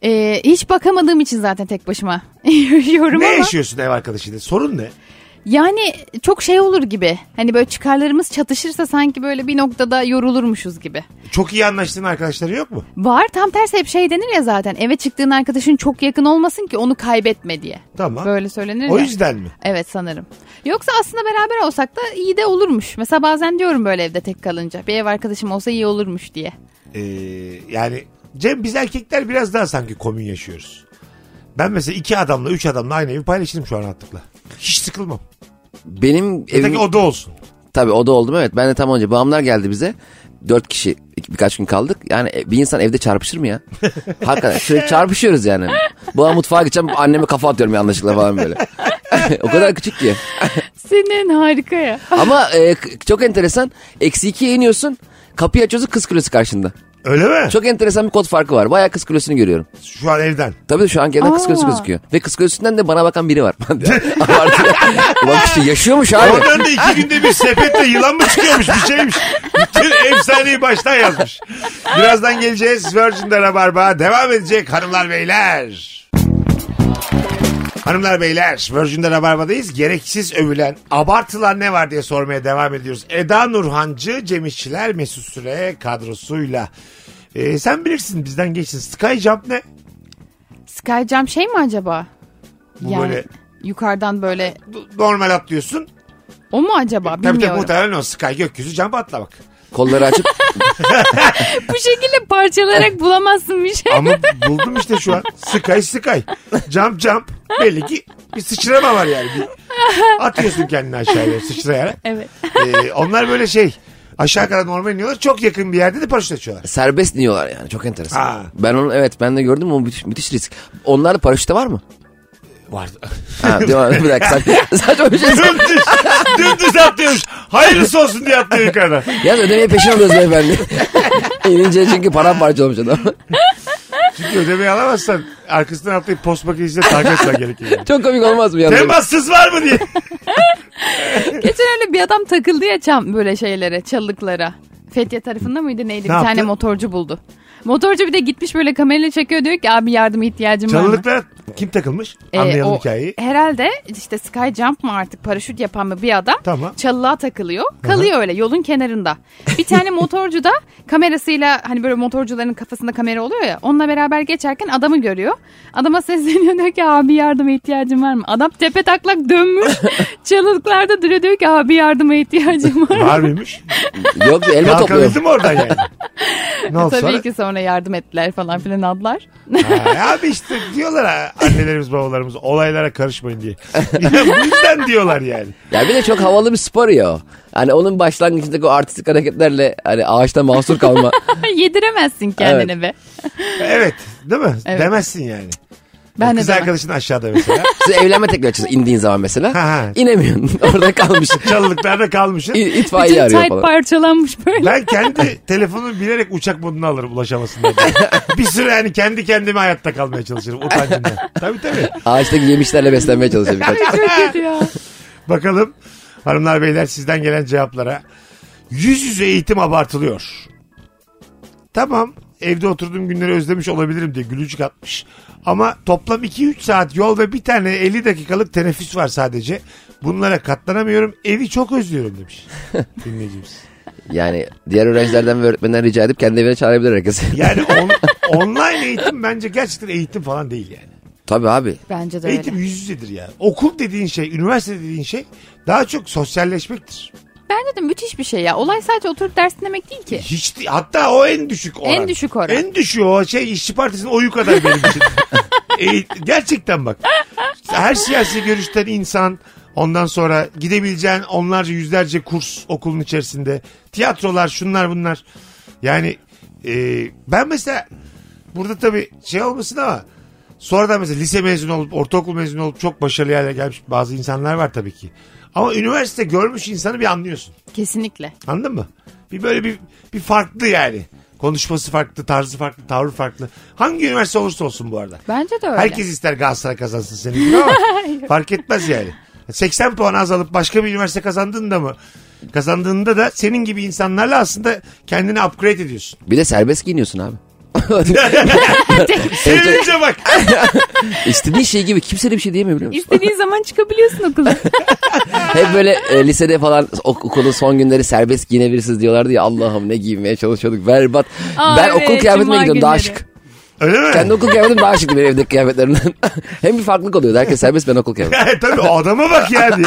[SPEAKER 3] Ee, hiç bakamadığım için zaten tek başıma *laughs* yaşıyorum
[SPEAKER 2] ne
[SPEAKER 3] ama.
[SPEAKER 2] yaşıyorsun ev arkadaşıyla? Sorun ne?
[SPEAKER 3] Yani çok şey olur gibi. Hani böyle çıkarlarımız çatışırsa sanki böyle bir noktada yorulurmuşuz gibi.
[SPEAKER 2] Çok iyi anlaştığın arkadaşları yok mu?
[SPEAKER 3] Var tam tersi hep şey denir ya zaten. Eve çıktığın arkadaşın çok yakın olmasın ki onu kaybetme diye.
[SPEAKER 2] Tamam.
[SPEAKER 3] Böyle söylenir
[SPEAKER 2] o
[SPEAKER 3] ya.
[SPEAKER 2] yüzden mi?
[SPEAKER 3] Evet sanırım. Yoksa aslında beraber olsak da iyi de olurmuş. Mesela bazen diyorum böyle evde tek kalınca. Bir ev arkadaşım olsa iyi olurmuş diye.
[SPEAKER 2] Ee, yani Cem biz erkekler biraz daha sanki komün yaşıyoruz. Ben mesela iki adamla üç adamla aynı evi paylaşırım şu an rahatlıkla. Hiç sıkılmam.
[SPEAKER 4] Benim
[SPEAKER 2] Yeter ki
[SPEAKER 4] evim
[SPEAKER 2] oda olsun.
[SPEAKER 4] tabii o da oldum evet ben de tam önce bağımlar geldi bize. Dört kişi iki- birkaç gün kaldık. Yani e, bir insan evde çarpışır mı ya? Hakikaten sürekli çarpışıyoruz yani. Bana mutfağa gideceğim anneme kafa atıyorum yanlışlıkla falan böyle. *laughs* o kadar küçük ki.
[SPEAKER 3] Senin harika ya.
[SPEAKER 4] Ama e, k- çok enteresan. Eksi ikiye iniyorsun. Kapıyı açıyorsun kız kulesi karşında.
[SPEAKER 2] Öyle mi?
[SPEAKER 4] Çok enteresan bir kod farkı var. Bayağı kız kulesini görüyorum.
[SPEAKER 2] Şu an evden.
[SPEAKER 4] Tabii şu an kendine kız
[SPEAKER 3] Aa.
[SPEAKER 4] kulesi gözüküyor. Ve kız kulesinden de bana bakan biri var. *laughs* Abartı. Ulan kişi yaşıyormuş abi.
[SPEAKER 2] Oradan da iki günde bir sepetle yılan mı çıkıyormuş bir şeymiş. Bütün efsaneyi baştan yazmış. Birazdan geleceğiz. Virgin'de Rabarba devam edecek hanımlar beyler. Hanımlar beyler Virgin'de Rabarba'dayız. Gereksiz övülen, abartılan ne var diye sormaya devam ediyoruz. Eda Nurhancı, Cem İşçiler, Mesut Süre kadrosuyla. Ee, sen bilirsin bizden geçsin. Sky Jump ne?
[SPEAKER 3] Skycam şey mi acaba?
[SPEAKER 2] Bu böyle-
[SPEAKER 3] yukarıdan böyle
[SPEAKER 2] Normal atlıyorsun.
[SPEAKER 3] o mu acaba
[SPEAKER 2] E, Tabii tabii
[SPEAKER 3] bilmiyorum.
[SPEAKER 2] muhtemelen o Sky gökyüzü jump atlamak.
[SPEAKER 4] Kolları açıp
[SPEAKER 3] Bu şekilde parçalayarak bulamazsın bir şey.
[SPEAKER 2] Ama buldum işte şu an. Sky sky. Jump jump. Belli ki bir sıçrama var yani. Bir atıyorsun kendini aşağıya sıçrayarak.
[SPEAKER 3] Evet.
[SPEAKER 2] Ee, onlar böyle şey. Aşağı kadar normal iniyorlar. Çok yakın bir yerde de paraşüt açıyorlar.
[SPEAKER 4] serbest iniyorlar yani. Çok enteresan.
[SPEAKER 2] Ha.
[SPEAKER 4] Ben onu evet ben de gördüm. O müthiş, müthiş risk. Onlarda paraşütte var mı?
[SPEAKER 2] Var.
[SPEAKER 4] Ha, devam-
[SPEAKER 2] *laughs*
[SPEAKER 4] bir dakika. Saç- Saçma bir şey.
[SPEAKER 2] dümdüz, dümdüz atlıyormuş. Hayırlısı olsun diye atlıyor yukarıdan.
[SPEAKER 4] Yaz ödemeyi peşin
[SPEAKER 2] *laughs*
[SPEAKER 4] alıyoruz beyefendi. İnince çünkü paramparça olmuş adam.
[SPEAKER 2] Çünkü ödemeyi alamazsan arkasından atlayıp post makinesiyle takip etmen gerekiyor. yani.
[SPEAKER 4] Çok komik olmaz mı? yalnız?
[SPEAKER 2] Temassız var mı diye.
[SPEAKER 3] Geçen öyle bir adam takıldı ya çam böyle şeylere, çalılıklara. Fethiye tarafında mıydı neydi? bir
[SPEAKER 2] yaptı?
[SPEAKER 3] tane motorcu buldu. Motorcu bir de gitmiş böyle kamerayla çekiyor diyor ki abi yardıma ihtiyacım var mı?
[SPEAKER 2] Çalılıklara kim takılmış?
[SPEAKER 3] Ee,
[SPEAKER 2] Anlayalım
[SPEAKER 3] o
[SPEAKER 2] hikayeyi.
[SPEAKER 3] Herhalde işte sky jump mı artık paraşüt yapan mı bir adam
[SPEAKER 2] Tamam.
[SPEAKER 3] çalılığa takılıyor. Kalıyor öyle yolun kenarında. Bir tane *laughs* motorcu da kamerasıyla hani böyle motorcuların kafasında kamera oluyor ya. Onunla beraber geçerken adamı görüyor. Adama sesleniyor diyor ki abi yardıma ihtiyacım var mı? Adam tepe taklak
[SPEAKER 2] *laughs*
[SPEAKER 3] dönmüş. çalılıklarda duruyor diyor ki abi yardıma ihtiyacım var mı?
[SPEAKER 2] Var mıymış?
[SPEAKER 4] Yok elma topluyor.
[SPEAKER 2] Kalkabildim oradan
[SPEAKER 3] *laughs*
[SPEAKER 2] yani. Ne oldu
[SPEAKER 3] Tabii
[SPEAKER 2] sonra?
[SPEAKER 3] ki sonra yardım ettiler falan filan adlar.
[SPEAKER 2] Ha, abi işte diyorlar ha, annelerimiz babalarımız olaylara karışmayın diye. *laughs* Ya Bu yüzden diyorlar yani.
[SPEAKER 4] Ya bir de çok havalı bir spor ya o. Hani onun başlangıcındaki o artistik hareketlerle hani ağaçta
[SPEAKER 2] *laughs*
[SPEAKER 4] mahsur kalma.
[SPEAKER 3] *laughs* Yediremezsin kendini be.
[SPEAKER 2] Evet değil mi?
[SPEAKER 3] Evet.
[SPEAKER 2] Demezsin yani.
[SPEAKER 3] Ben de
[SPEAKER 2] Kız
[SPEAKER 3] demem.
[SPEAKER 2] arkadaşın aşağıda
[SPEAKER 3] *laughs*
[SPEAKER 2] mesela.
[SPEAKER 4] Siz evlenme teklifi açıyorsun indiğin zaman
[SPEAKER 2] Ha,
[SPEAKER 4] mesela.
[SPEAKER 2] ha.
[SPEAKER 4] İnemiyorsun. *laughs* Orada kalmışsın.
[SPEAKER 2] Çalılıklarda kalmışsın.
[SPEAKER 4] İ- İtfaiye
[SPEAKER 3] Bütün
[SPEAKER 4] arıyor
[SPEAKER 3] tight
[SPEAKER 4] falan.
[SPEAKER 3] parçalanmış
[SPEAKER 2] *laughs*
[SPEAKER 3] böyle.
[SPEAKER 2] Ben kendi telefonu bilerek uçak moduna alırım ulaşamasın diye. Bir süre yani kendi kendime hayatta kalmaya çalışırım utancımdan. Tabii tabii.
[SPEAKER 4] Ağaçtaki yemişlerle beslenmeye çalışıyor birkaç.
[SPEAKER 3] Çok kötü ya.
[SPEAKER 2] Bakalım hanımlar beyler sizden gelen cevaplara. Yüz yüze eğitim abartılıyor. Tamam evde oturduğum günleri özlemiş olabilirim diye gülücük atmış. Ama toplam 2-3 saat yol ve bir tane 50 dakikalık teneffüs var sadece. Bunlara katlanamıyorum. Evi çok özlüyorum demiş dinleyicimiz.
[SPEAKER 4] Yani diğer öğrencilerden ve öğretmenden rica edip kendi evine çağırabilir herkes. *laughs*
[SPEAKER 2] Yani on- online eğitim bence gerçekten eğitim falan değil yani.
[SPEAKER 4] Tabii abi.
[SPEAKER 3] Bence de
[SPEAKER 2] Eğitim
[SPEAKER 3] öyle.
[SPEAKER 2] yüz yüzedir ya. Okul dediğin şey, üniversite dediğin şey daha çok sosyalleşmektir.
[SPEAKER 3] Bence de müthiş bir şey ya. Olay sadece oturup ders dinlemek değil ki.
[SPEAKER 2] Hiç değil. Hatta o en düşük oran.
[SPEAKER 3] En düşük oran.
[SPEAKER 2] En düşüğü o şey işçi partisinin oyu kadar benim
[SPEAKER 3] *laughs*
[SPEAKER 2] için. E, gerçekten bak. Her siyasi görüşten insan ondan sonra gidebileceğin onlarca yüzlerce kurs okulun içerisinde. Tiyatrolar şunlar bunlar. Yani e, ben mesela burada tabii şey olmasın ama sonradan mesela lise mezunu olup ortaokul mezunu olup çok başarılı yerlere gelmiş bazı insanlar var tabii ki. Ama üniversite görmüş insanı bir anlıyorsun.
[SPEAKER 3] Kesinlikle.
[SPEAKER 2] Anladın mı? Bir böyle bir, bir farklı yani. Konuşması farklı, tarzı farklı, tavrı farklı. Hangi üniversite olursa olsun bu arada.
[SPEAKER 3] Bence de öyle.
[SPEAKER 2] Herkes ister Galatasaray kazansın senin gibi ama fark etmez yani. 80 puan az alıp başka bir üniversite kazandığında mı? Kazandığında da senin gibi insanlarla aslında kendini upgrade ediyorsun.
[SPEAKER 4] Bir de serbest
[SPEAKER 3] *laughs*
[SPEAKER 4] giyiniyorsun abi.
[SPEAKER 2] Sevince bak.
[SPEAKER 4] İstediğin şey gibi kimse de bir şey diyemiyor biliyor musun?
[SPEAKER 3] İstediğin zaman
[SPEAKER 2] *laughs*
[SPEAKER 3] çıkabiliyorsun okuldan.
[SPEAKER 4] Hep böyle e, lisede falan ok- okulun son günleri serbest giyinebilirsiniz diyorlardı ya Allah'ım ne giymeye çalışıyorduk berbat.
[SPEAKER 3] Aa,
[SPEAKER 4] ben
[SPEAKER 3] evet,
[SPEAKER 4] okul kıyafetime
[SPEAKER 3] cuma
[SPEAKER 4] gidiyorum daha
[SPEAKER 3] günleri.
[SPEAKER 4] şık.
[SPEAKER 2] Öyle mi?
[SPEAKER 4] Kendi okul kıyafetim daha şık benim evdeki kıyafetlerimden. *laughs* Hem bir farklılık oluyor. Herkes serbest ben okul kıyafeti.
[SPEAKER 2] *laughs* Tabii o adama bak yani.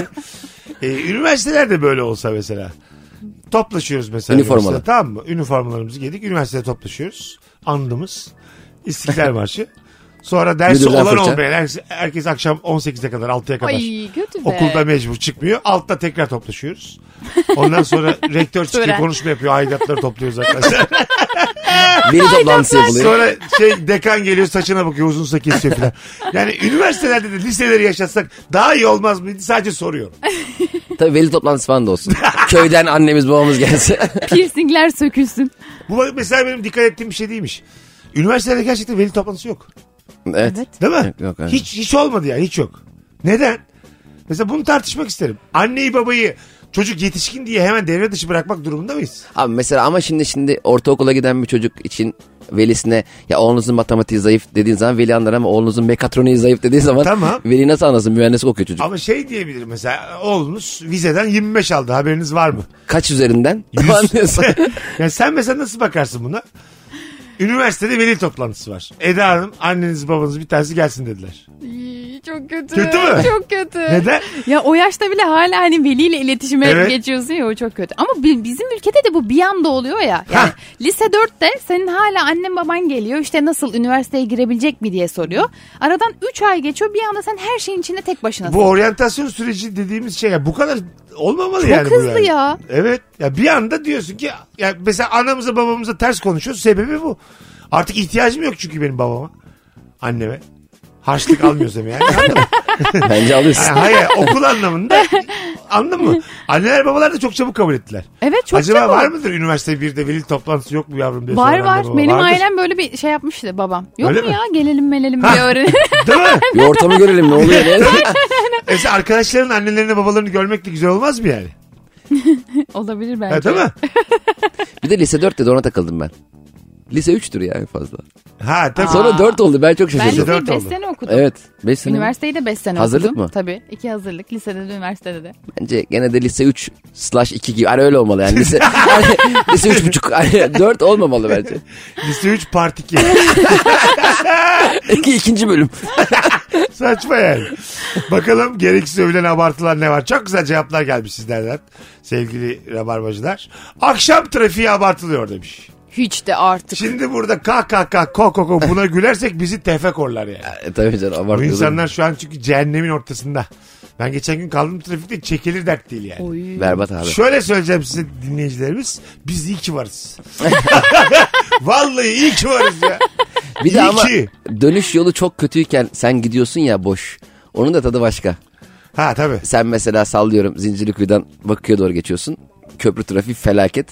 [SPEAKER 2] Ee, üniversitelerde böyle olsa mesela. Toplaşıyoruz mesela.
[SPEAKER 4] Üniformalı.
[SPEAKER 2] üniversitede, Tamam mı? Üniformalarımızı giydik. Üniversitede toplaşıyoruz. Andımız. İstiklal
[SPEAKER 4] *laughs*
[SPEAKER 2] Marşı. Sonra dersi
[SPEAKER 4] Müdürden
[SPEAKER 2] olan
[SPEAKER 4] fırça.
[SPEAKER 2] olmayan herkes, herkes akşam 18'e kadar 6'ya kadar.
[SPEAKER 3] Ay kötü be.
[SPEAKER 2] Okulda mecbur çıkmıyor. Altta tekrar toplaşıyoruz. Ondan
[SPEAKER 3] *laughs*
[SPEAKER 2] sonra rektör çıkıyor
[SPEAKER 3] Tören.
[SPEAKER 2] konuşma yapıyor. Aidatları topluyoruz
[SPEAKER 4] *laughs*
[SPEAKER 2] arkadaşlar.
[SPEAKER 4] Veli toplantısı yapılıyor.
[SPEAKER 2] Sonra şey dekan geliyor saçına bakıyor uzunsa kesiyor falan. Yani üniversitelerde de liseleri yaşatsak daha iyi olmaz mıydı? Sadece soruyorum.
[SPEAKER 4] Tabii veli toplantısı falan da olsun. Köyden annemiz babamız gelse.
[SPEAKER 3] *laughs*
[SPEAKER 4] *laughs*
[SPEAKER 3] Piercingler sökülsün.
[SPEAKER 2] Bu mesela benim dikkat ettiğim bir şey değilmiş. Üniversitede gerçekten veli toplantısı yok.
[SPEAKER 4] evet.
[SPEAKER 3] Evet.
[SPEAKER 2] Değil mi?
[SPEAKER 4] Yok, yok, aynen.
[SPEAKER 2] hiç, hiç olmadı yani hiç yok. Neden? Mesela bunu tartışmak isterim. Anneyi babayı çocuk yetişkin diye hemen devre dışı bırakmak durumunda mıyız?
[SPEAKER 4] Abi mesela ama şimdi şimdi ortaokula giden bir çocuk için velisine ya oğlunuzun matematiği zayıf dediğin zaman veli anlar ama oğlunuzun mekatroniği zayıf dediği zaman
[SPEAKER 2] Tamam.
[SPEAKER 4] veli nasıl anlasın mühendislik okuyor çocuk.
[SPEAKER 2] Ama şey diyebilir mesela oğlunuz vizeden 25 aldı haberiniz var
[SPEAKER 4] *laughs*
[SPEAKER 2] mı?
[SPEAKER 4] Kaç üzerinden?
[SPEAKER 2] *laughs* Yüz.
[SPEAKER 4] Anlıyorsun.
[SPEAKER 2] *laughs* yani sen mesela nasıl bakarsın buna? Üniversitede veli toplantısı var. Eda Hanım anneniz babanız bir tanesi gelsin dediler.
[SPEAKER 3] İyi, Çok kötü.
[SPEAKER 2] Kötü mü?
[SPEAKER 3] Çok kötü.
[SPEAKER 2] Neden?
[SPEAKER 3] Ya o yaşta bile hala hani veliyle iletişime
[SPEAKER 2] Evet.
[SPEAKER 3] geçiyorsun ya o çok kötü. Ama bi- bizim ülkede de bu bir anda oluyor ya. Yani
[SPEAKER 2] Hah.
[SPEAKER 3] lise 4'te senin hala annen baban geliyor işte nasıl üniversiteye girebilecek mi diye soruyor. Aradan 3 ay geçiyor bir anda sen her şeyin içinde tek başınasın.
[SPEAKER 2] Bu oryantasyon süreci dediğimiz şey ya bu kadar olmamalı
[SPEAKER 3] Çok
[SPEAKER 2] yani. bu
[SPEAKER 3] hızlı
[SPEAKER 2] yani.
[SPEAKER 3] ya.
[SPEAKER 2] Evet. Ya bir anda diyorsun ki ya mesela anamıza babamıza ters konuşuyoruz. Sebebi bu. Artık ihtiyacım yok çünkü benim babama. Anneme. Harçlık almıyorsam
[SPEAKER 3] *laughs*
[SPEAKER 2] yani. Anladın mı?
[SPEAKER 4] Bence alıyorsun.
[SPEAKER 2] Ha, Hayır okul anlamında. Anladın mı? Anneler babalar da çok çabuk kabul ettiler.
[SPEAKER 3] Evet çok
[SPEAKER 2] Acaba
[SPEAKER 3] çabuk.
[SPEAKER 2] var mıdır üniversite bir de veli toplantısı yok mu yavrum diye
[SPEAKER 3] Var
[SPEAKER 2] soran anne
[SPEAKER 3] var.
[SPEAKER 2] baba.
[SPEAKER 3] Benim
[SPEAKER 2] Vardır.
[SPEAKER 3] ailem böyle bir şey yapmıştı babam. Yok
[SPEAKER 2] Öyle
[SPEAKER 3] mu
[SPEAKER 2] mi?
[SPEAKER 3] ya gelelim melelim
[SPEAKER 2] Ha.
[SPEAKER 3] bir öğren.
[SPEAKER 2] Değil mi?
[SPEAKER 4] Bir ortamı görelim ne oluyor. ne?
[SPEAKER 2] *laughs* Mesela arkadaşların annelerini babalarını görmek de güzel olmaz mı yani?
[SPEAKER 3] *laughs* Olabilir bence.
[SPEAKER 2] Ha, değil mi?
[SPEAKER 4] bir de lise 4'te de ona takıldım ben. Lise 3'tür yani fazla.
[SPEAKER 2] Ha tabii.
[SPEAKER 4] Sonra
[SPEAKER 3] Aa.
[SPEAKER 4] 4 oldu ben çok
[SPEAKER 3] Ben
[SPEAKER 4] şaşırdım.
[SPEAKER 2] Lise dört
[SPEAKER 3] liseyi 5
[SPEAKER 2] oldu.
[SPEAKER 3] sene okudum.
[SPEAKER 4] Evet 5 sene.
[SPEAKER 3] Üniversiteyi de 5 sene
[SPEAKER 4] Hazırlık
[SPEAKER 3] okudum.
[SPEAKER 4] mı?
[SPEAKER 3] Tabii. iki hazırlık. Lisede de üniversitede de.
[SPEAKER 4] Bence gene de lise 3 slash 2 gibi. Hani öyle olmalı
[SPEAKER 2] *laughs*
[SPEAKER 4] yani. Lise, hani lise 3,5. Hani 4 olmamalı bence.
[SPEAKER 2] Lise 3 part 2.
[SPEAKER 4] İki, ikinci bölüm.
[SPEAKER 2] Saçma yani. Bakalım gereksiz övülen abartılar ne var? Çok güzel cevaplar gelmiş sizlerden. Sevgili rabarbacılar. Akşam trafiği abartılıyor demiş.
[SPEAKER 3] Hiç de artık.
[SPEAKER 2] Şimdi burada kah kah kah kok kok kok buna gülersek bizi tefekorlar yani.
[SPEAKER 4] E, tabii canım
[SPEAKER 2] Bu
[SPEAKER 4] abartıyorsun.
[SPEAKER 2] insanlar şu an çünkü cehennemin ortasında. Ben geçen gün kaldım trafikte çekilir dert değil yani.
[SPEAKER 3] Oy.
[SPEAKER 4] Berbat abi.
[SPEAKER 2] Şöyle söyleyeceğim size dinleyicilerimiz. Biz iyi ki varız. Vallahi iyi ki varız ya.
[SPEAKER 4] Bir de
[SPEAKER 2] iyi
[SPEAKER 4] ama
[SPEAKER 2] ki.
[SPEAKER 4] dönüş yolu çok kötüyken sen gidiyorsun ya boş. Onun da tadı başka.
[SPEAKER 2] Ha tabii.
[SPEAKER 4] Sen mesela sallıyorum Zincirlikuyu'dan Bakıya doğru geçiyorsun. Köprü trafiği felaket.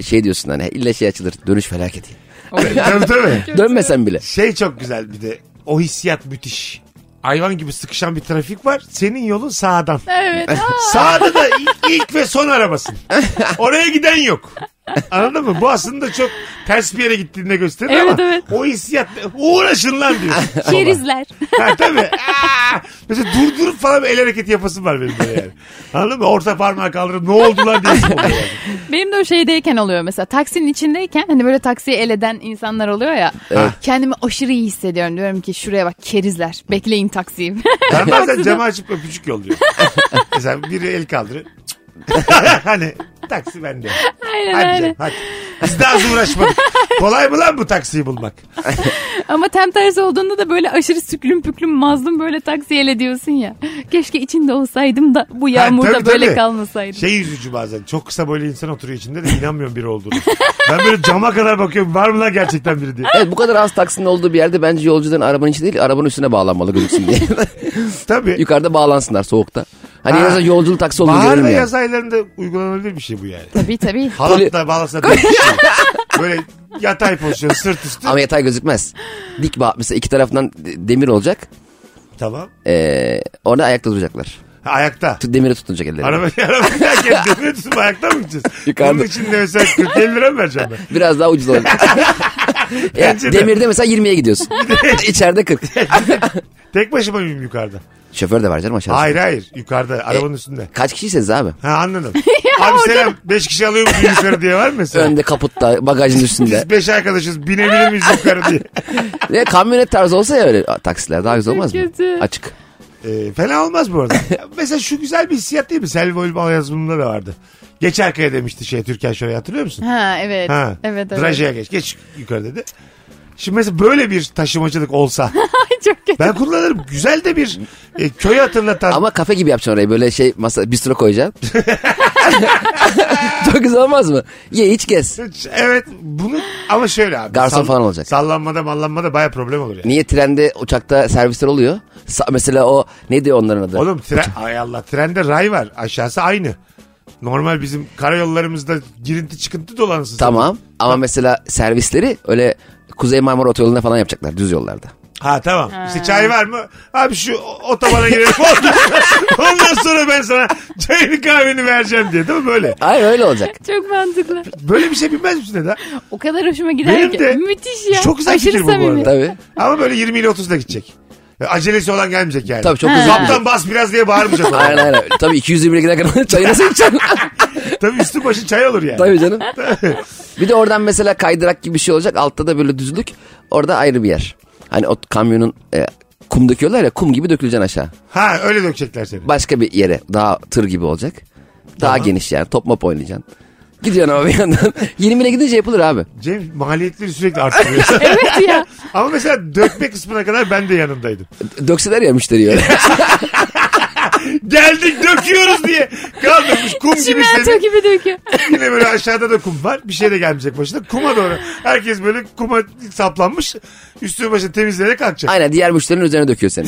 [SPEAKER 4] Şey diyorsun hani illa şey açılır dönüş felaketi.
[SPEAKER 2] tabii tabii.
[SPEAKER 4] Dönmesen bile.
[SPEAKER 2] Şey çok güzel bir de. O hissiyat müthiş. Hayvan gibi sıkışan bir trafik var. Senin yolun sağdan. *laughs*
[SPEAKER 3] Evet. *laughs*
[SPEAKER 2] Sağda da ilk, ilk ve son arabasın. Oraya giden yok. Anladın mı? Bu aslında çok ters bir yere gittiğinde gösterir
[SPEAKER 3] Evet,
[SPEAKER 2] ama
[SPEAKER 3] evet.
[SPEAKER 2] o hissiyat uğraşın lan
[SPEAKER 3] *laughs*
[SPEAKER 2] diyor.
[SPEAKER 3] Kerizler.
[SPEAKER 2] ha, tabii. Aa! mesela durdurup falan bir el hareketi yapasım var benim böyle yani. Anladın mı? Orta parmağı kaldırıp ne oldu lan diye.
[SPEAKER 3] *laughs* Benim de o şeydeyken oluyor mesela. Taksinin içindeyken hani böyle taksiye el eden insanlar oluyor ya. Kendimi aşırı iyi hissediyorum. Diyorum ki şuraya bak kerizler. Bekleyin taksiyi.
[SPEAKER 2] Ben bazen camı açıp öpücük yolluyorum. mesela biri el kaldırır. hani taksi bende.
[SPEAKER 3] Aynen
[SPEAKER 2] Hadi
[SPEAKER 3] öyle.
[SPEAKER 2] canım, hadi. Biz daha az uğraşmadık. Kolay mı lan bu taksiyi bulmak?
[SPEAKER 3] Ama tam tersi olduğunda da böyle aşırı süklüm püklüm mazlum böyle taksiye el ediyorsun ya. Keşke içinde olsaydım da bu yağmurda
[SPEAKER 2] tabii,
[SPEAKER 3] böyle
[SPEAKER 2] tabii.
[SPEAKER 3] kalmasaydım.
[SPEAKER 2] Şey üzücü bazen. Çok kısa böyle insan oturuyor içinde de inanmıyorum biri olduğunu. Ben böyle cama kadar bakıyorum. Var mı lan gerçekten biri diye.
[SPEAKER 4] Evet bu kadar az taksinin olduğu bir yerde bence yolcuların arabanın içi değil arabanın üstüne bağlanmalı gözüksün
[SPEAKER 2] *laughs*
[SPEAKER 4] diye. *laughs*
[SPEAKER 2] Tabii.
[SPEAKER 4] Yukarıda bağlansınlar soğukta. Hani
[SPEAKER 2] Ha.
[SPEAKER 4] en azından yolculuk taksi olduğunu
[SPEAKER 2] Bahar
[SPEAKER 4] görürüm
[SPEAKER 2] ve
[SPEAKER 4] ya.
[SPEAKER 2] yaz aylarında uygulanabilir bir şey bu yani.
[SPEAKER 3] Tabii tabii.
[SPEAKER 2] Halatla bağlasana. bir şey. böyle yatay pozisyon sırt üstü.
[SPEAKER 4] Ama yatay gözükmez. Dik bağ mesela iki tarafından de- demir olacak.
[SPEAKER 2] Tamam.
[SPEAKER 4] Ee, orada ayakta duracaklar.
[SPEAKER 2] Ha, ayakta.
[SPEAKER 4] Tut- Demire tutunacak elleri.
[SPEAKER 2] Araba araba
[SPEAKER 3] *laughs*
[SPEAKER 2] giderken demir tutup ayakta mı gideceğiz?
[SPEAKER 4] Yukarıda.
[SPEAKER 2] Bunun için de mesela 40 lira mı vereceğim ben?
[SPEAKER 4] Biraz daha
[SPEAKER 2] *laughs*
[SPEAKER 4] ucuz olabilir. ya,
[SPEAKER 2] Bence de.
[SPEAKER 4] demirde mesela 20'ye gidiyorsun. İçeride 40.
[SPEAKER 2] Tek başıma mıyım yukarıda?
[SPEAKER 4] Şoför de var canım aşağıda.
[SPEAKER 2] Hayır hayır
[SPEAKER 3] E-
[SPEAKER 2] yukarıda arabanın üstünde.
[SPEAKER 4] Kaç kişiyseniz abi?
[SPEAKER 2] Ha
[SPEAKER 3] *laughs*
[SPEAKER 2] anladım. Abi selam 5 kişi alıyor musun yukarı diye var mı mesela?
[SPEAKER 4] Önde kaputta bagajın
[SPEAKER 2] *laughs*
[SPEAKER 4] üstünde.
[SPEAKER 2] Biz 5 arkadaşız binebilir miyiz yukarı
[SPEAKER 3] *laughs*
[SPEAKER 2] diye.
[SPEAKER 4] Ne kamyonet tarzı olsa ya öyle taksiler daha güzel olmaz mı?
[SPEAKER 3] kötü.
[SPEAKER 4] Açık.
[SPEAKER 2] Ee, fena olmaz bu arada. Ya mesela şu güzel bir hissiyat değil mi? Selvi Bal yazımında da vardı. Geç arkaya demişti şey Türkan Şoray'ı hatırlıyor musun?
[SPEAKER 3] Ha evet.
[SPEAKER 2] Ha.
[SPEAKER 3] Evet evet.
[SPEAKER 2] Drajaya geç. Geç yukarı dedi. Şimdi mesela böyle bir taşımacılık olsa
[SPEAKER 3] Çok kötü.
[SPEAKER 2] ben kullanırım. Güzel de bir e, köy hatırlatan.
[SPEAKER 4] Ama kafe gibi yapacaksın orayı böyle şey masa bistro koyacaksın.
[SPEAKER 2] *laughs*
[SPEAKER 4] Çok güzel olmaz mı? Ye iç gez.
[SPEAKER 2] Evet bunu ama şöyle abi.
[SPEAKER 4] Garson falan olacak.
[SPEAKER 2] Sallanmada mallanmada baya problem olur yani.
[SPEAKER 4] Niye trende uçakta servisler oluyor? Sa- mesela o ne diyor onların adı?
[SPEAKER 2] Oğlum tren, ay Allah trende ray var aşağısı aynı. Normal bizim karayollarımızda girinti çıkıntı dolansın.
[SPEAKER 4] Tamam ama mesela servisleri öyle Kuzey Marmara Otoyolu'nda falan yapacaklar düz yollarda.
[SPEAKER 2] Ha tamam. İşte çay var mı? Abi şu o- otobana
[SPEAKER 4] *laughs*
[SPEAKER 2] girelim. *laughs* Ondan sonra, ondan sonra ben sana çayını kahveni vereceğim diye değil mi böyle?
[SPEAKER 4] Ay
[SPEAKER 2] *laughs*
[SPEAKER 4] öyle olacak.
[SPEAKER 3] *laughs* Çok mantıklı.
[SPEAKER 2] Böyle bir şey bilmez misin Eda?
[SPEAKER 3] O kadar hoşuma gider
[SPEAKER 2] Benim
[SPEAKER 3] ki.
[SPEAKER 2] de.
[SPEAKER 3] Müthiş ya.
[SPEAKER 2] Çok güzel
[SPEAKER 3] Aşırı
[SPEAKER 2] fikir bu bu
[SPEAKER 3] samimi.
[SPEAKER 2] arada.
[SPEAKER 4] Tabii.
[SPEAKER 2] Ama böyle 20 ile 30 da gidecek. E, Acelesi olan gelmeyecek yani.
[SPEAKER 4] Tabii çok
[SPEAKER 3] Ha.
[SPEAKER 4] hızlı. gidecek.
[SPEAKER 2] Kaptan bas biraz diye bağırmayacak. ona.
[SPEAKER 4] Aynen aynen. Tabii 221'e giden kadar *laughs* çayı nasıl içeceksin?
[SPEAKER 2] Tabii üstü başı çay olur yani.
[SPEAKER 4] Tabii canım. Bir de oradan mesela kaydırak gibi bir şey olacak. Altta da böyle düzlük. Orada ayrı bir yer. Hani o kamyonun e, kum döküyorlar ya kum gibi döküleceksin aşağı.
[SPEAKER 2] Ha öyle dökecekler seni.
[SPEAKER 4] Başka bir yere daha tır gibi olacak. Daha
[SPEAKER 2] Tamam.
[SPEAKER 4] geniş yani top mop oynayacaksın. Gidiyorsun ama bir yandan. *laughs* 20'ine gidince yapılır abi.
[SPEAKER 2] Cem maliyetleri sürekli artırıyor. *laughs*
[SPEAKER 3] Evet ya.
[SPEAKER 2] Ama mesela dökme kısmına kadar ben de yanındaydım.
[SPEAKER 4] Dökseler ya müşteriyi öyle.
[SPEAKER 2] Geldik döküyoruz diye. Kaldırmış kum gibi
[SPEAKER 3] Çimento
[SPEAKER 2] seni.
[SPEAKER 3] gibi döküyor.
[SPEAKER 2] Yine böyle aşağıda da kum var. Bir şey de gelmeyecek başına. Kuma doğru. Herkes böyle kuma saplanmış. Üstü başı temizleyerek kalkacak.
[SPEAKER 4] Aynen diğer müşterinin üzerine döküyor seni.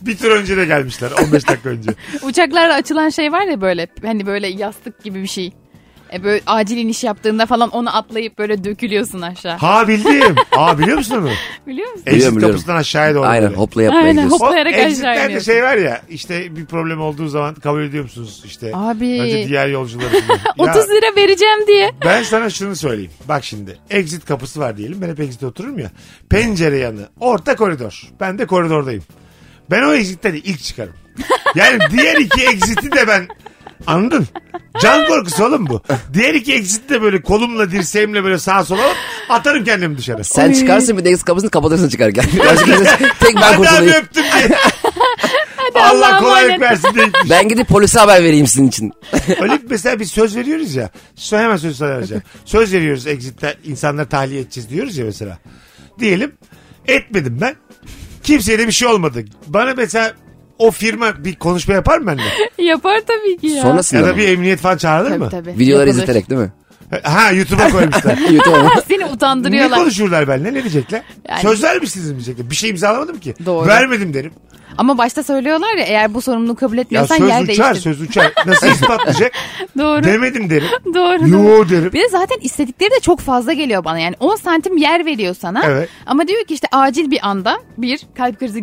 [SPEAKER 2] Bir tur önce de gelmişler. 15 dakika önce.
[SPEAKER 3] Uçaklarda açılan şey var ya böyle hani böyle yastık gibi bir şey. E böyle acil iniş yaptığında falan onu atlayıp böyle dökülüyorsun aşağı.
[SPEAKER 2] Ha bildim. Aa biliyor musun onu?
[SPEAKER 3] Biliyor musun?
[SPEAKER 4] Biliyorum,
[SPEAKER 2] Exit
[SPEAKER 4] biliyorum.
[SPEAKER 2] kapısından aşağıya doğru.
[SPEAKER 4] Aynen
[SPEAKER 2] böyle.
[SPEAKER 4] hopla yapmaya
[SPEAKER 3] Aynen,
[SPEAKER 4] gidiyorsun.
[SPEAKER 3] hop. Hoplayarak
[SPEAKER 2] O
[SPEAKER 3] aşağı
[SPEAKER 2] Exit'ten de
[SPEAKER 3] iniyorsun.
[SPEAKER 2] şey var ya işte bir problem olduğu zaman kabul ediyor musunuz işte.
[SPEAKER 3] Abi.
[SPEAKER 2] Önce diğer yolcular için.
[SPEAKER 3] *laughs*
[SPEAKER 2] Ya
[SPEAKER 3] 30 lira vereceğim diye.
[SPEAKER 2] ben sana şunu söyleyeyim. Bak şimdi exit kapısı var diyelim. Ben hep exit'e otururum ya. Pencere yanı orta koridor. Ben de koridordayım. Ben o exit'ten ilk çıkarım. Yani diğer iki exit'i de ben anladın? Can korkusu oğlum bu. Diğer iki exit'i de böyle kolumla dirseğimle böyle sağa sola alıp atarım kendimi dışarı.
[SPEAKER 4] Sen çıkarsın bir de kapısını kapatırsın çıkarken. *laughs* Başka kimse- Tek ben
[SPEAKER 2] Hadi abi
[SPEAKER 4] kurtulayım.
[SPEAKER 2] öptüm diye. Allah
[SPEAKER 3] Allah'a
[SPEAKER 2] kolaylık
[SPEAKER 3] emanet.
[SPEAKER 2] versin diye gitmiş.
[SPEAKER 4] Ben gidip polise haber vereyim sizin için.
[SPEAKER 2] Öyle bir- mesela bir söz veriyoruz ya. Söyle hemen söz sana vereceğim. Söz veriyoruz exit'te insanları tahliye edeceğiz diyoruz ya mesela. Diyelim etmedim ben. Kimseye de bir şey olmadı. Bana mesela o firma bir konuşma yapar mı benimle?
[SPEAKER 3] Yapar tabii ki ya.
[SPEAKER 4] Sonrasında
[SPEAKER 2] Ya da
[SPEAKER 4] mı?
[SPEAKER 2] bir emniyet falan çağırılır
[SPEAKER 3] Tabii
[SPEAKER 2] mı?
[SPEAKER 3] tabii.
[SPEAKER 4] Videoları
[SPEAKER 3] Yapılır.
[SPEAKER 4] izleterek değil mi? *laughs*
[SPEAKER 2] Ha YouTube'a
[SPEAKER 3] *laughs*
[SPEAKER 2] koymuşlar.
[SPEAKER 4] YouTube'a.
[SPEAKER 3] Seni
[SPEAKER 2] ne
[SPEAKER 3] utandırıyorlar.
[SPEAKER 2] konuşurlar benimle ne diyecekler?
[SPEAKER 3] Yani-
[SPEAKER 2] Söz vermişsiniz mi diyecekler? Bir şey imzalamadım ki.
[SPEAKER 3] Doğru.
[SPEAKER 2] Vermedim derim.
[SPEAKER 3] Ama başta söylüyorlar ya eğer bu sorumluluğu kabul
[SPEAKER 2] Ya
[SPEAKER 3] etmiyorsan
[SPEAKER 2] söz
[SPEAKER 3] yer
[SPEAKER 2] uçar
[SPEAKER 3] değiştir.
[SPEAKER 2] söz uçar. Nasıl ispatlayacak?
[SPEAKER 3] *laughs* Doğru.
[SPEAKER 2] Demedim
[SPEAKER 3] *laughs*
[SPEAKER 2] derim.
[SPEAKER 3] Doğru.
[SPEAKER 2] Yo derim.
[SPEAKER 3] Bir de zaten istedikleri de çok fazla geliyor bana. Yani 10 santim yer veriyor sana.
[SPEAKER 2] Evet.
[SPEAKER 3] Ama diyor ki işte acil bir anda bir kalp krizi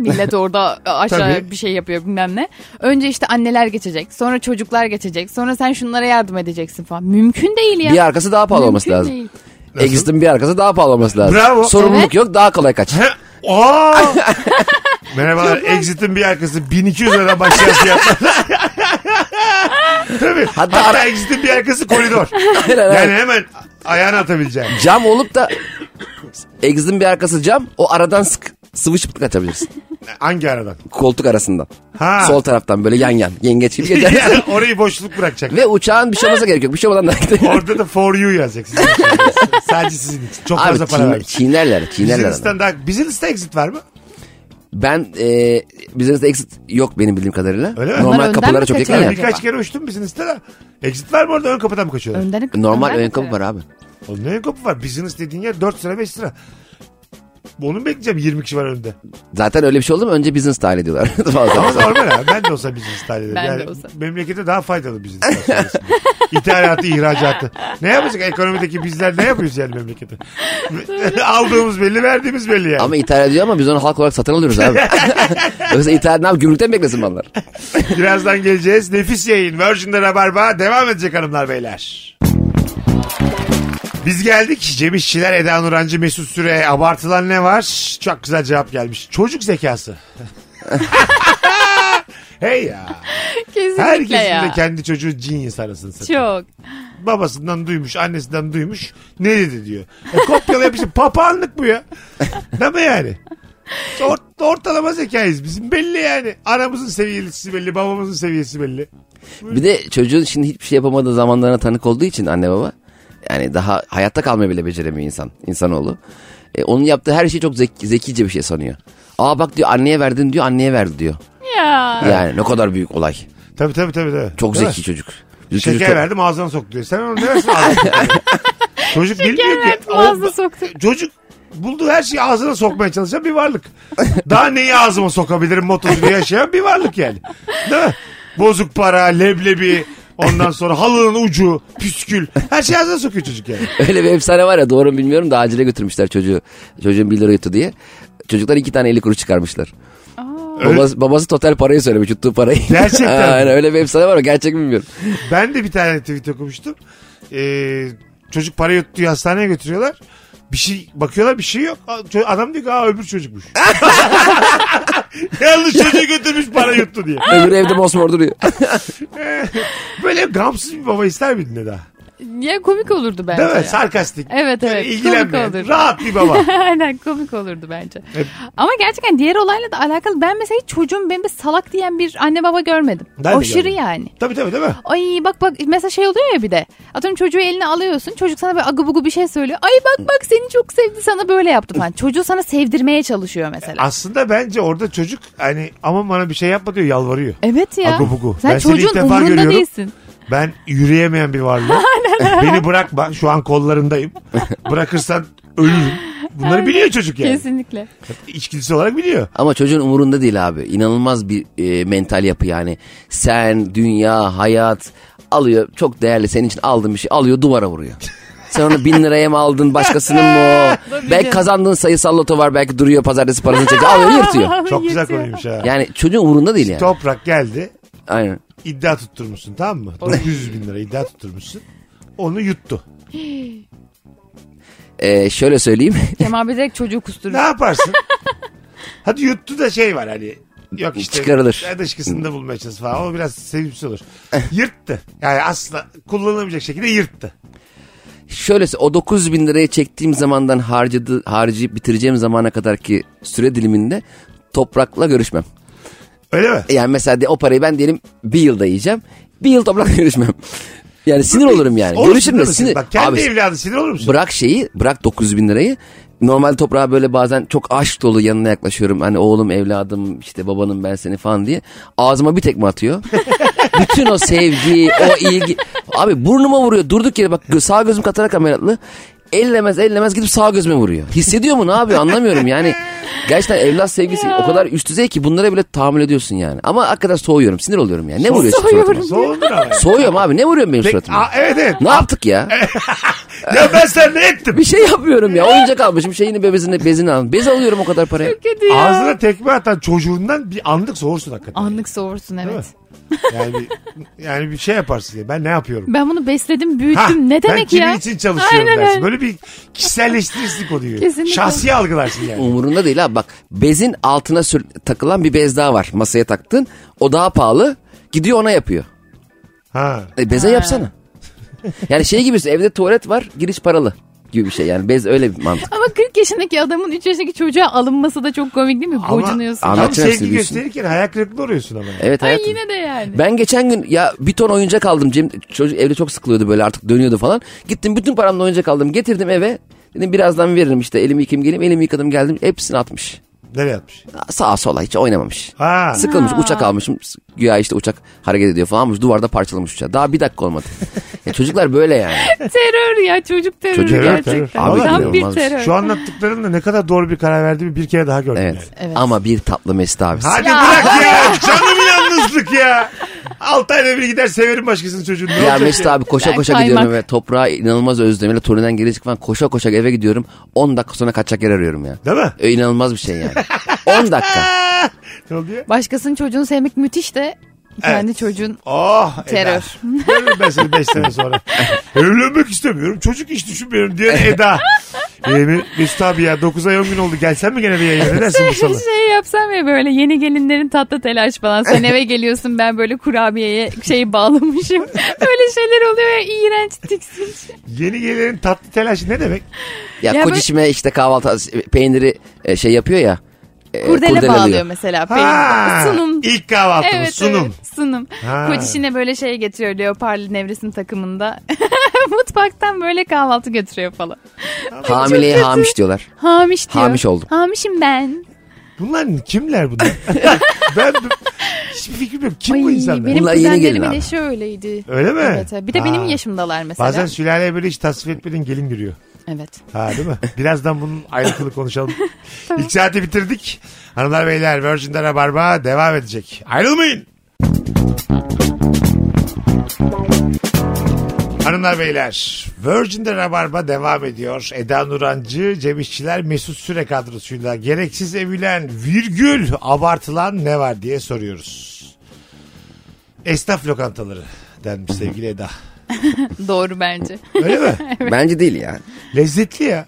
[SPEAKER 2] *laughs*
[SPEAKER 3] Millet orada
[SPEAKER 2] Tabii.
[SPEAKER 3] aşağı bir şey yapıyor bilmem ne. Önce işte anneler geçecek. Sonra çocuklar geçecek. Sonra sen şunlara yardım edeceksin falan. Mümkün değil ya.
[SPEAKER 4] Bir arkası daha pahalı olması
[SPEAKER 3] Mümkün
[SPEAKER 4] lazım.
[SPEAKER 3] değil.
[SPEAKER 2] Nasıl?
[SPEAKER 4] Exist'in bir arkası daha pahalı olması lazım.
[SPEAKER 2] Bravo.
[SPEAKER 4] Sorumluluk
[SPEAKER 3] Evet.
[SPEAKER 4] yok daha kolay kaç.
[SPEAKER 2] He, Aa! Merhabalar. Exit'in bir arkası 1200 lira başlayan fiyatlar. Tabii. *laughs* Hatta,
[SPEAKER 4] Hatta ara-
[SPEAKER 2] Exit'in bir arkası koridor.
[SPEAKER 4] Aynen,
[SPEAKER 2] yani
[SPEAKER 4] aynen.
[SPEAKER 2] hemen ayağını atabileceğim.
[SPEAKER 4] Cam olup da Exit'in bir arkası cam o aradan sık, sıvışıp kaçabilirsin.
[SPEAKER 2] Hangi aradan?
[SPEAKER 4] Koltuk arasından.
[SPEAKER 2] Ha.
[SPEAKER 4] Sol taraftan böyle yan yan. Yengeç
[SPEAKER 2] *laughs*
[SPEAKER 4] gibi geçersin.
[SPEAKER 2] Yani orayı boşluk bırakacak.
[SPEAKER 4] Ve uçağın bir şey olmasına gerek yok. Bir şey olmadan da
[SPEAKER 2] Orada da for you yazacak sizin için. Sadece sizin için. Çok fazla
[SPEAKER 4] Abi
[SPEAKER 2] para
[SPEAKER 4] çiğner,
[SPEAKER 2] vermiş.
[SPEAKER 4] çiğnerler. Çiğnerler. adamı.
[SPEAKER 2] Business'ten daha... Business'te exit var mı?
[SPEAKER 4] Ben e, business'te exit yok benim bildiğim kadarıyla.
[SPEAKER 2] Öyle mi?
[SPEAKER 3] Onlar
[SPEAKER 4] Normal
[SPEAKER 3] önden
[SPEAKER 4] kapılara
[SPEAKER 3] mi
[SPEAKER 4] çok yakın
[SPEAKER 3] kaçıyor?
[SPEAKER 4] ya.
[SPEAKER 3] Acaba?
[SPEAKER 2] Birkaç kere uçtum business'te de. Exit var mı orada ön kapıdan mı kaçıyorlar?
[SPEAKER 3] Önden
[SPEAKER 4] Normal
[SPEAKER 3] önden
[SPEAKER 4] ön kapı
[SPEAKER 3] mesela.
[SPEAKER 4] var abi.
[SPEAKER 2] Oğlum ne ön kapı var? Business dediğin yer 4 lira 5 lira. Onu mu bekleyeceğim 20 kişi var önünde.
[SPEAKER 4] Zaten öyle bir şey oldu mu önce business dahil ediyorlar. *laughs*
[SPEAKER 2] Ama
[SPEAKER 4] Fazla.
[SPEAKER 2] normal abi. Ben de olsa business dahil ederim.
[SPEAKER 3] Ben de
[SPEAKER 2] yani
[SPEAKER 3] olsa.
[SPEAKER 2] Memlekete daha faydalı business var sonrasında. İthalatı, ihracatı. Ne yapacak? Ekonomideki bizler ne yapıyoruz yani memlekete? *laughs* Aldığımız belli, verdiğimiz belli yani.
[SPEAKER 4] ama ithal ediyor ama biz onu halk olarak satın alıyoruz
[SPEAKER 2] *laughs*
[SPEAKER 4] abi. Yoksa ithal ne yap? Gümrükten mi beklesin mallar?
[SPEAKER 2] Birazdan geleceğiz. Nefis yayın. Virgin'de Rabarba devam edecek hanımlar beyler. Biz geldik. Cem İşçiler, Eda Nurancı, Mesut Süre. Abartılan ne var? Çok güzel cevap gelmiş. Çocuk zekası. hey ya.
[SPEAKER 3] Kesinlikle
[SPEAKER 2] Herkesin de
[SPEAKER 3] ya.
[SPEAKER 2] kendi çocuğu genius arasını satıyor.
[SPEAKER 3] Çok.
[SPEAKER 2] Babasından duymuş, annesinden duymuş. Ne dedi diyor. E, kopyalayıp işte papağanlık bu ya. Değil mi yani? Ort- ortalama zekayız bizim belli yani. Anamızın seviyesi belli, babamızın seviyesi belli.
[SPEAKER 4] Bir de çocuğun şimdi hiçbir şey yapamadığı zamanlarına tanık olduğu için anne baba. Yani daha hayatta kalmayı bile beceremiyor insan. insanoğlu. E, onun yaptığı her şeyi çok zek- zekice bir şey sanıyor. Aa bak diyor anneye verdin diyor anneye verdi diyor.
[SPEAKER 3] Ya.
[SPEAKER 4] Yani ne kadar büyük olay.
[SPEAKER 2] Tabii tabii tabii. tabii.
[SPEAKER 4] Çok
[SPEAKER 2] Değil mi?
[SPEAKER 4] zeki çocuk. Bizim
[SPEAKER 2] Şeker
[SPEAKER 4] çocuk çok-
[SPEAKER 2] verdim ağzına soktu diyor. Sen onu ne
[SPEAKER 4] *laughs*
[SPEAKER 2] versin ağzına soktu diyor. Çocuk bilmiyor ki.
[SPEAKER 3] verdim, ağzına soktu.
[SPEAKER 2] Çocuk bulduğu her şeyi ağzına sokmaya çalışan bir varlık. Daha neyi ağzıma sokabilirim motosunu yaşayan bir varlık yani. Değil mi? Bozuk para, leblebi, ondan sonra halının ucu, püskül. Her şeyi ağzına sokuyor çocuk yani.
[SPEAKER 4] *laughs* Öyle bir efsane var ya doğru mu bilmiyorum da acile götürmüşler çocuğu. Çocuğun 1 lira yuttu diye. Çocuklar iki tane 50 kuru çıkarmışlar.
[SPEAKER 2] Öyle-
[SPEAKER 4] Babası, babası total parayı söylemiş yuttuğu parayı.
[SPEAKER 2] *laughs* Gerçekten mi?
[SPEAKER 4] *laughs* Aynen öyle bir efsane var o gerçek
[SPEAKER 2] *laughs*
[SPEAKER 4] mi bilmiyorum.
[SPEAKER 2] Ben de bir tane tweet okumuştum. Ee, çocuk para yuttuğu hastaneye götürüyorlar. Bir şey bakıyorlar bir şey yok. A- ço- Adam diyor ki aa öbür çocukmuş. Yanlış çocuğu götürmüş para yuttu diye.
[SPEAKER 4] Öbürü evde mosmor duruyor. *laughs*
[SPEAKER 2] Böyle gamsız bir baba ister miydin Eda?
[SPEAKER 3] Ya komik olurdu bence.
[SPEAKER 2] Değil mi?
[SPEAKER 3] ya. *laughs*
[SPEAKER 2] Sarkastik.
[SPEAKER 3] Evet,
[SPEAKER 2] Böyle
[SPEAKER 3] evet.
[SPEAKER 2] ilgilenmeyen,
[SPEAKER 3] Komik olur.
[SPEAKER 2] Rahat bir baba.
[SPEAKER 3] *laughs* Aynen komik olurdu bence.
[SPEAKER 2] Evet.
[SPEAKER 3] Ama gerçekten diğer olayla da alakalı ben mesela hiç çocuğum benim de salak diyen bir anne baba görmedim.
[SPEAKER 2] Ben de
[SPEAKER 3] Aşırı
[SPEAKER 2] görmedim.
[SPEAKER 3] yani.
[SPEAKER 2] tabii tabii değil mi?
[SPEAKER 3] Ay bak bak mesela şey oluyor ya bir de. Atıyorum çocuğu eline alıyorsun. Çocuk sana böyle agı bugu bir şey söylüyor. Ay bak bak seni çok sevdi sana böyle yaptı
[SPEAKER 2] *laughs*
[SPEAKER 3] falan. Çocuğu sana sevdirmeye çalışıyor mesela.
[SPEAKER 2] Aslında bence orada çocuk hani aman bana bir şey yapma diyor yalvarıyor.
[SPEAKER 3] Evet ya.
[SPEAKER 2] Agı bugu.
[SPEAKER 3] Sen
[SPEAKER 2] Ben seni ilk
[SPEAKER 3] çocuğun
[SPEAKER 2] defa
[SPEAKER 3] umurunda
[SPEAKER 2] görüyorum.
[SPEAKER 3] değilsin.
[SPEAKER 2] Ben yürüyemeyen bir
[SPEAKER 3] *laughs*
[SPEAKER 2] varlığım. Beni bırakma. Şu an kollarındayım. Bırakırsan ölürüm. Bunları
[SPEAKER 3] Aynen.
[SPEAKER 2] biliyor çocuk yani.
[SPEAKER 3] Kesinlikle.
[SPEAKER 2] İçgüdüsü olarak biliyor.
[SPEAKER 4] Ama çocuğun umurunda değil abi. İnanılmaz bir e, mental yapı yani. Sen, dünya, hayat alıyor. Çok değerli senin için aldığın bir şey alıyor duvara vuruyor. Sen onu bin liraya mı aldın başkasının mı
[SPEAKER 2] *laughs*
[SPEAKER 4] o? belki kazandığın sayısal loto var belki duruyor pazartesi parasını çekiyor
[SPEAKER 2] *laughs*
[SPEAKER 4] alıyor yırtıyor.
[SPEAKER 3] *laughs*
[SPEAKER 2] Çok güzel
[SPEAKER 3] Yetiyor.
[SPEAKER 2] konuymuş ha.
[SPEAKER 4] Yani çocuğun umurunda değil yani.
[SPEAKER 2] Toprak geldi.
[SPEAKER 4] Aynen.
[SPEAKER 2] iddia tutturmuşsun tamam mı? 900 bin lira iddia tutturmuşsun. Onu yuttu.
[SPEAKER 4] Ee, şöyle söyleyeyim. *laughs*
[SPEAKER 3] Kemal Bey direkt çocuğu
[SPEAKER 2] Ne
[SPEAKER 3] kusturur.
[SPEAKER 2] yaparsın?
[SPEAKER 3] *laughs*
[SPEAKER 2] Hadi yuttu da şey var hani. Yok işte.
[SPEAKER 4] Çıkarılır.
[SPEAKER 2] ya
[SPEAKER 3] Hmm.
[SPEAKER 2] Dışkısını da bulmaya çalış falan. O biraz sevimsiz olur.
[SPEAKER 3] Eh.
[SPEAKER 2] Yırttı. Yani asla kullanılamayacak şekilde yırttı.
[SPEAKER 4] Şöyle sö- o 9 bin liraya çektiğim zamandan harcadı, harcayıp bitireceğim zamana kadar ki süre diliminde toprakla görüşmem.
[SPEAKER 2] Öyle
[SPEAKER 3] E,
[SPEAKER 2] mi?
[SPEAKER 4] Yani mesela de, o parayı ben diyelim bir yılda yiyeceğim. Bir yıl toprakla *laughs* görüşmem. Yani sinir olurum yani.
[SPEAKER 2] Olursun
[SPEAKER 4] Görüşürüm de
[SPEAKER 2] değil mi?
[SPEAKER 4] sinir.
[SPEAKER 2] Bak kendi
[SPEAKER 4] Abi,
[SPEAKER 2] evladı sinir olur musun?
[SPEAKER 4] bırak şeyi bırak 9 bin lirayı. Normal toprağa böyle bazen çok aşk dolu yanına yaklaşıyorum. Hani oğlum evladım işte babanım ben seni falan diye. Ağzıma bir tekme atıyor. *laughs* Bütün o sevgi, o ilgi. Abi burnuma vuruyor durduk yere bak gö- sağ gözüm katarak ameliyatlı. ellemez ellemez gidip sağ gözüme vuruyor. Hissediyor mu ne yapıyor anlamıyorum yani. Gerçekten evlat sevgisi o kadar üst düzey ki bunlara bile tahammül ediyorsun yani. Ama hakikaten soğuyorum sinir oluyorum yani. Ne vuruyorsun suratıma?
[SPEAKER 3] Soğuyorum.
[SPEAKER 2] Soğudun ama.
[SPEAKER 4] Soğuyorum abi ne vuruyorsun benim
[SPEAKER 2] Peki,
[SPEAKER 4] suratıma?
[SPEAKER 2] aa, evet
[SPEAKER 3] *laughs*
[SPEAKER 2] evet.
[SPEAKER 4] Ne yaptık ya?
[SPEAKER 2] Ya ben sen ne ettim?
[SPEAKER 4] Bir şey yapmıyorum ya. Oyuncak almışım şeyini bebesini bezini aldım. Bez alıyorum o kadar paraya.
[SPEAKER 3] Kötü ya.
[SPEAKER 2] Ağzına tekme atan çocuğundan bir anlık soğursun hakikaten.
[SPEAKER 3] Anlık soğursun evet.
[SPEAKER 2] Yani bir, yani bir şey yaparsın diye. Ben ne yapıyorum?
[SPEAKER 3] Ben bunu besledim, büyüttüm.
[SPEAKER 2] Ha,
[SPEAKER 3] *laughs* ne
[SPEAKER 2] ben
[SPEAKER 3] demek
[SPEAKER 2] kimin
[SPEAKER 3] ya?
[SPEAKER 2] için çalışıyorum
[SPEAKER 3] Aynen
[SPEAKER 2] dersin.
[SPEAKER 3] öyle.
[SPEAKER 2] Böyle bir kişiselleştirirsin konuyu.
[SPEAKER 3] Kesinlikle. Hmm.
[SPEAKER 2] Şahsi algılarsın yani.
[SPEAKER 4] Umurunda değil abi bak bezin altına sür- takılan bir bez daha var masaya taktın o daha pahalı gidiyor ona yapıyor.
[SPEAKER 2] Ha.
[SPEAKER 4] E, beze yapsana. Yani şey gibisin evde tuvalet var giriş paralı gibi bir şey yani bez öyle bir mantık.
[SPEAKER 3] Ama 40 yaşındaki adamın 3 yaşındaki çocuğa alınması da çok komik değil mi? Bocunuyorsun.
[SPEAKER 4] Ama-
[SPEAKER 2] Tam
[SPEAKER 4] Anlatacağım size
[SPEAKER 2] sevgi
[SPEAKER 4] bir
[SPEAKER 2] gösterirken hayal kırıklığı uğruyorsun ama.
[SPEAKER 4] Evet
[SPEAKER 3] Ay
[SPEAKER 4] hayatım.
[SPEAKER 3] yine de yani.
[SPEAKER 4] Ben geçen gün ya bir ton oyuncak aldım. Cem, çocuk evde çok sıkılıyordu böyle artık dönüyordu falan. Gittim bütün paramla oyuncak aldım. Getirdim eve. Dedim birazdan veririm işte elimi yıkayayım geleyim. Elimi yıkadım geldim. Hepsini atmış.
[SPEAKER 2] Nereye atmış?
[SPEAKER 4] Sağa sola hiç oynamamış.
[SPEAKER 2] Ha.
[SPEAKER 4] Sıkılmış uçak almışım. Güya işte uçak hareket ediyor falanmış. Duvarda parçalamış uçağı. Daha bir dakika
[SPEAKER 3] *laughs*
[SPEAKER 4] olmadı. ya çocuklar böyle yani.
[SPEAKER 3] Terör ya çocuk terörü
[SPEAKER 4] Çocuk-
[SPEAKER 2] Terör,
[SPEAKER 3] gerçekten.
[SPEAKER 2] terör. Abi,
[SPEAKER 3] Tam bir
[SPEAKER 4] inanılmaz.
[SPEAKER 3] terör.
[SPEAKER 2] Şu anlattıklarınla ne kadar doğru bir karar verdiğimi bir kere daha gördüm.
[SPEAKER 4] Evet.
[SPEAKER 2] yani.
[SPEAKER 3] Evet.
[SPEAKER 4] Ama bir tatlı Mesut abisi.
[SPEAKER 2] Hadi bırak ya. Canım yalnızlık ya. Altı ayda bir gider severim başkasının çocuğunu. Ne
[SPEAKER 4] Ya
[SPEAKER 2] olacak
[SPEAKER 4] Mesut abi koşa
[SPEAKER 3] Ben
[SPEAKER 4] koşa
[SPEAKER 3] kaymak.
[SPEAKER 4] gidiyorum eve. Toprağa inanılmaz özlemiyle Torundan geri çıkıp falan koşa koşa eve gidiyorum. 10 dakika sonra kaçacak yer arıyorum ya.
[SPEAKER 2] Değil mi?
[SPEAKER 4] E, inanılmaz
[SPEAKER 3] *laughs*
[SPEAKER 4] bir şey yani. 10 dakika.
[SPEAKER 2] Aa, Ne oluyor?
[SPEAKER 3] Başkasının çocuğunu sevmek müthiş de kendi çocuğun
[SPEAKER 2] Oh Eda.
[SPEAKER 3] Terör.
[SPEAKER 2] Görürüm ben seni 5 sene sonra. Evlenmek istemiyorum. Çocuk hiç düşünmüyorum diyen Eda. Ee, Mesut abi ya 9 ay 10 gün oldu. Gelsen mi gene bir yayına? Ne dersin bu sana?
[SPEAKER 3] *laughs* şey yapsam ya böyle yeni gelinlerin tatlı telaş falan. Sen eve geliyorsun ben böyle kurabiyeye
[SPEAKER 2] *laughs*
[SPEAKER 3] şey bağlamışım. böyle şeyler oluyor ya iğrenç tiksinç.
[SPEAKER 2] Yeni gelenin tatlı telaşı ne demek?
[SPEAKER 4] Ya,
[SPEAKER 3] Ya
[SPEAKER 4] koç
[SPEAKER 3] böyle-
[SPEAKER 4] işime işte kahvaltı peyniri e, şey yapıyor ya. e,
[SPEAKER 3] Kurdele
[SPEAKER 4] kurdeleliyor.
[SPEAKER 3] bağlıyor mesela.
[SPEAKER 2] Ha,
[SPEAKER 3] peynir. Sunum.
[SPEAKER 2] İlk kahvaltımız
[SPEAKER 3] Evet,
[SPEAKER 2] sunum.
[SPEAKER 3] evet, sunum.
[SPEAKER 2] Ha.
[SPEAKER 3] Koç işine böyle şey getiriyor Leoparlı Nevresim takımında. *laughs* Mutfaktan böyle kahvaltı götürüyor falan.
[SPEAKER 4] Hamileye hamiş diyorlar.
[SPEAKER 3] Hamiş diyor.
[SPEAKER 4] Hamiş oldum.
[SPEAKER 3] Hamişim ben.
[SPEAKER 2] Bunlar kimler
[SPEAKER 3] *laughs*
[SPEAKER 2] bunlar? *laughs* ben hiçbir fikrim yok. Kim bu
[SPEAKER 3] Ay,
[SPEAKER 2] insanlar?
[SPEAKER 3] Benim
[SPEAKER 4] Bunlar yeni
[SPEAKER 3] kuzenlerim
[SPEAKER 4] gelin abi.
[SPEAKER 3] bile şöyleydi.
[SPEAKER 2] Öyle mi?
[SPEAKER 3] Evet, evet. bir de benim
[SPEAKER 2] Ha.
[SPEAKER 3] yaşımdalar mesela.
[SPEAKER 2] Bazen sülaleye böyle hiç tasvip etmediğin gelin giriyor.
[SPEAKER 3] Evet.
[SPEAKER 2] Ha değil mi? Birazdan bunun ayrıntılı konuşalım. İlk saati bitirdik. Hanımlar beyler Virgin'de Rabarba devam edecek. Ayrılmayın. Hanımlar beyler Virgin'de Rabarba devam ediyor. Eda Nurancı, Cem İşçiler, Mesut Süre kadrosuyla gereksiz övülen virgül abartılan ne var diye soruyoruz. Esnaf lokantaları denmiş sevgili Eda.
[SPEAKER 3] Doğru bence.
[SPEAKER 2] Öyle mi?
[SPEAKER 4] Bence değil ya.
[SPEAKER 2] Lezzetli ya.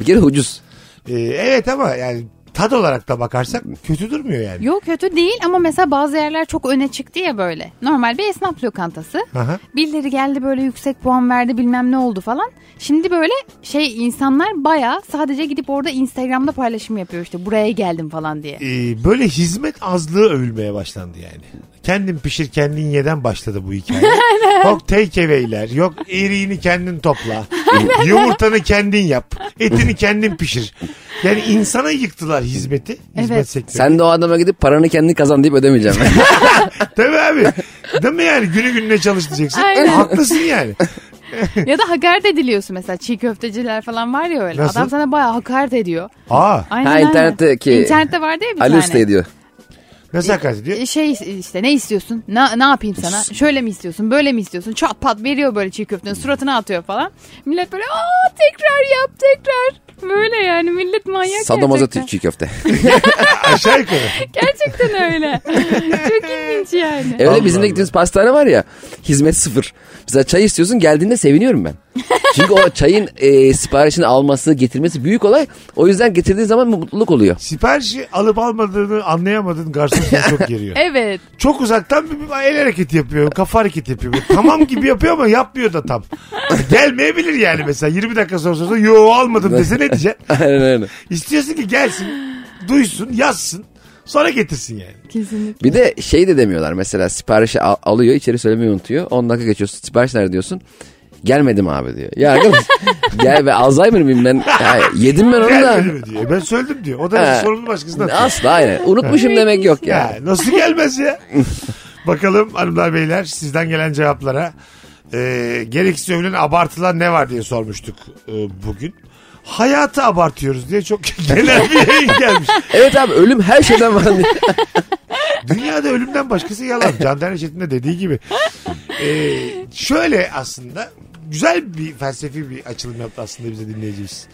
[SPEAKER 4] Bir kere ucuz.
[SPEAKER 2] Ee, evet ama yani tad olarak da bakarsak kötü durmuyor yani.
[SPEAKER 3] *laughs* Yok kötü değil ama mesela bazı yerler çok öne çıktı ya böyle. Normal bir esnaf lokantası.
[SPEAKER 2] Aha.
[SPEAKER 3] Birileri geldi böyle yüksek puan verdi bilmem ne oldu falan. Şimdi böyle şey insanlar baya sadece gidip orada Instagram'da paylaşım yapıyor işte buraya geldim
[SPEAKER 2] *laughs*
[SPEAKER 3] falan diye.
[SPEAKER 2] Ee, böyle hizmet azlığı övülmeye başlandı yani. Kendin pişir kendin yeden başladı bu
[SPEAKER 3] *laughs*
[SPEAKER 2] hikaye. yok take away'ler, yok eriğini kendin
[SPEAKER 3] *laughs*
[SPEAKER 2] topla, yumurtanı kendin yap, etini kendin pişir. Yani insana yıktılar hizmeti, hizmet
[SPEAKER 3] Evet.
[SPEAKER 2] sektörü.
[SPEAKER 4] Sen de o adama gidip paranı kendin kazan
[SPEAKER 3] *laughs*
[SPEAKER 4] deyip ödemeyeceğim.
[SPEAKER 2] Tabii abi. Değil mi yani günü gününe çalışacaksın.
[SPEAKER 3] Aynen.
[SPEAKER 2] Haklısın yani.
[SPEAKER 3] ya da hakaret ediliyorsun mesela çiğ köfteciler falan var ya öyle.
[SPEAKER 2] Nasıl?
[SPEAKER 3] Adam sana baya hakaret ediyor.
[SPEAKER 2] Aa,
[SPEAKER 3] Aynen
[SPEAKER 4] ha
[SPEAKER 3] aynen.
[SPEAKER 4] internetteki.
[SPEAKER 3] İnternette vardı ya bir
[SPEAKER 4] Ali
[SPEAKER 3] tane.
[SPEAKER 4] Usta ediyor.
[SPEAKER 2] nasıl hakaret ediyor?
[SPEAKER 3] E, şey işte ne istiyorsun? Ne, ne yapayım sana? Şöyle mi istiyorsun? Böyle mi istiyorsun? Çat pat veriyor böyle çiğ köftenin suratına atıyor falan. Millet böyle aa tekrar yap tekrar. Böyle yani millet manyak
[SPEAKER 4] Sadomazo
[SPEAKER 3] gerçekten.
[SPEAKER 4] Türkçü köfte. *laughs*
[SPEAKER 2] Aşağı yukarı.
[SPEAKER 3] Gerçekten öyle. Çok ilginç yani.
[SPEAKER 4] E
[SPEAKER 2] Allah
[SPEAKER 4] Öyle bizim
[SPEAKER 2] Allah.
[SPEAKER 4] de gittiğimiz pastane var ya hizmet sıfır. Mesela çay istiyorsun geldiğinde seviniyorum ben. Çünkü o çayın e, siparişini alması getirmesi büyük olay. O yüzden getirdiği zaman mutluluk oluyor.
[SPEAKER 2] Siparişi alıp almadığını anlayamadığın garson seni çok geriyor.
[SPEAKER 3] Evet.
[SPEAKER 2] Çok uzaktan bir, bir el hareketi yapıyor. Kafa hareketi yapıyor. Böyle *laughs* tamam gibi yapıyor ama yapmıyor da tam. Gelmeyebilir yani mesela. 20 dakika sonra sorsa yo almadım dese ne
[SPEAKER 4] *laughs*
[SPEAKER 2] diyeceksin?
[SPEAKER 4] Aynen öyle.
[SPEAKER 2] İstiyorsun ki gelsin, duysun, yazsın. Sonra getirsin yani.
[SPEAKER 3] Kesinlikle.
[SPEAKER 4] Bir de şey de demiyorlar mesela siparişi al- alıyor içeri söylemeyi unutuyor. 10 dakika geçiyorsun sipariş nerede diyorsun. Gelmedim abi diyor. Ya arkadaş gel be Alzheimer miyim ben? Ya, yedim ben onu da.
[SPEAKER 2] Gelmedi mi diyor. Ben söyledim diyor. O da
[SPEAKER 4] Ha.
[SPEAKER 2] sorumlu başkasına atıyor.
[SPEAKER 4] Asla aynen. Unutmuşum demek yok ya. *laughs*
[SPEAKER 2] Ya, nasıl gelmez ya? Bakalım hanımlar beyler sizden gelen cevaplara. Ee, gereksiz övülen abartılan ne var diye sormuştuk e, bugün. Hayatı abartıyoruz diye çok *laughs* genel bir yayın gelmiş.
[SPEAKER 4] Evet abi ölüm her şeyden var.
[SPEAKER 2] Dünyada ölümden başkası yalan. Candan Reşit'in de dediği gibi. Ee, şöyle aslında güzel bir felsefi bir açılım yaptı aslında bize dinleyicimiz.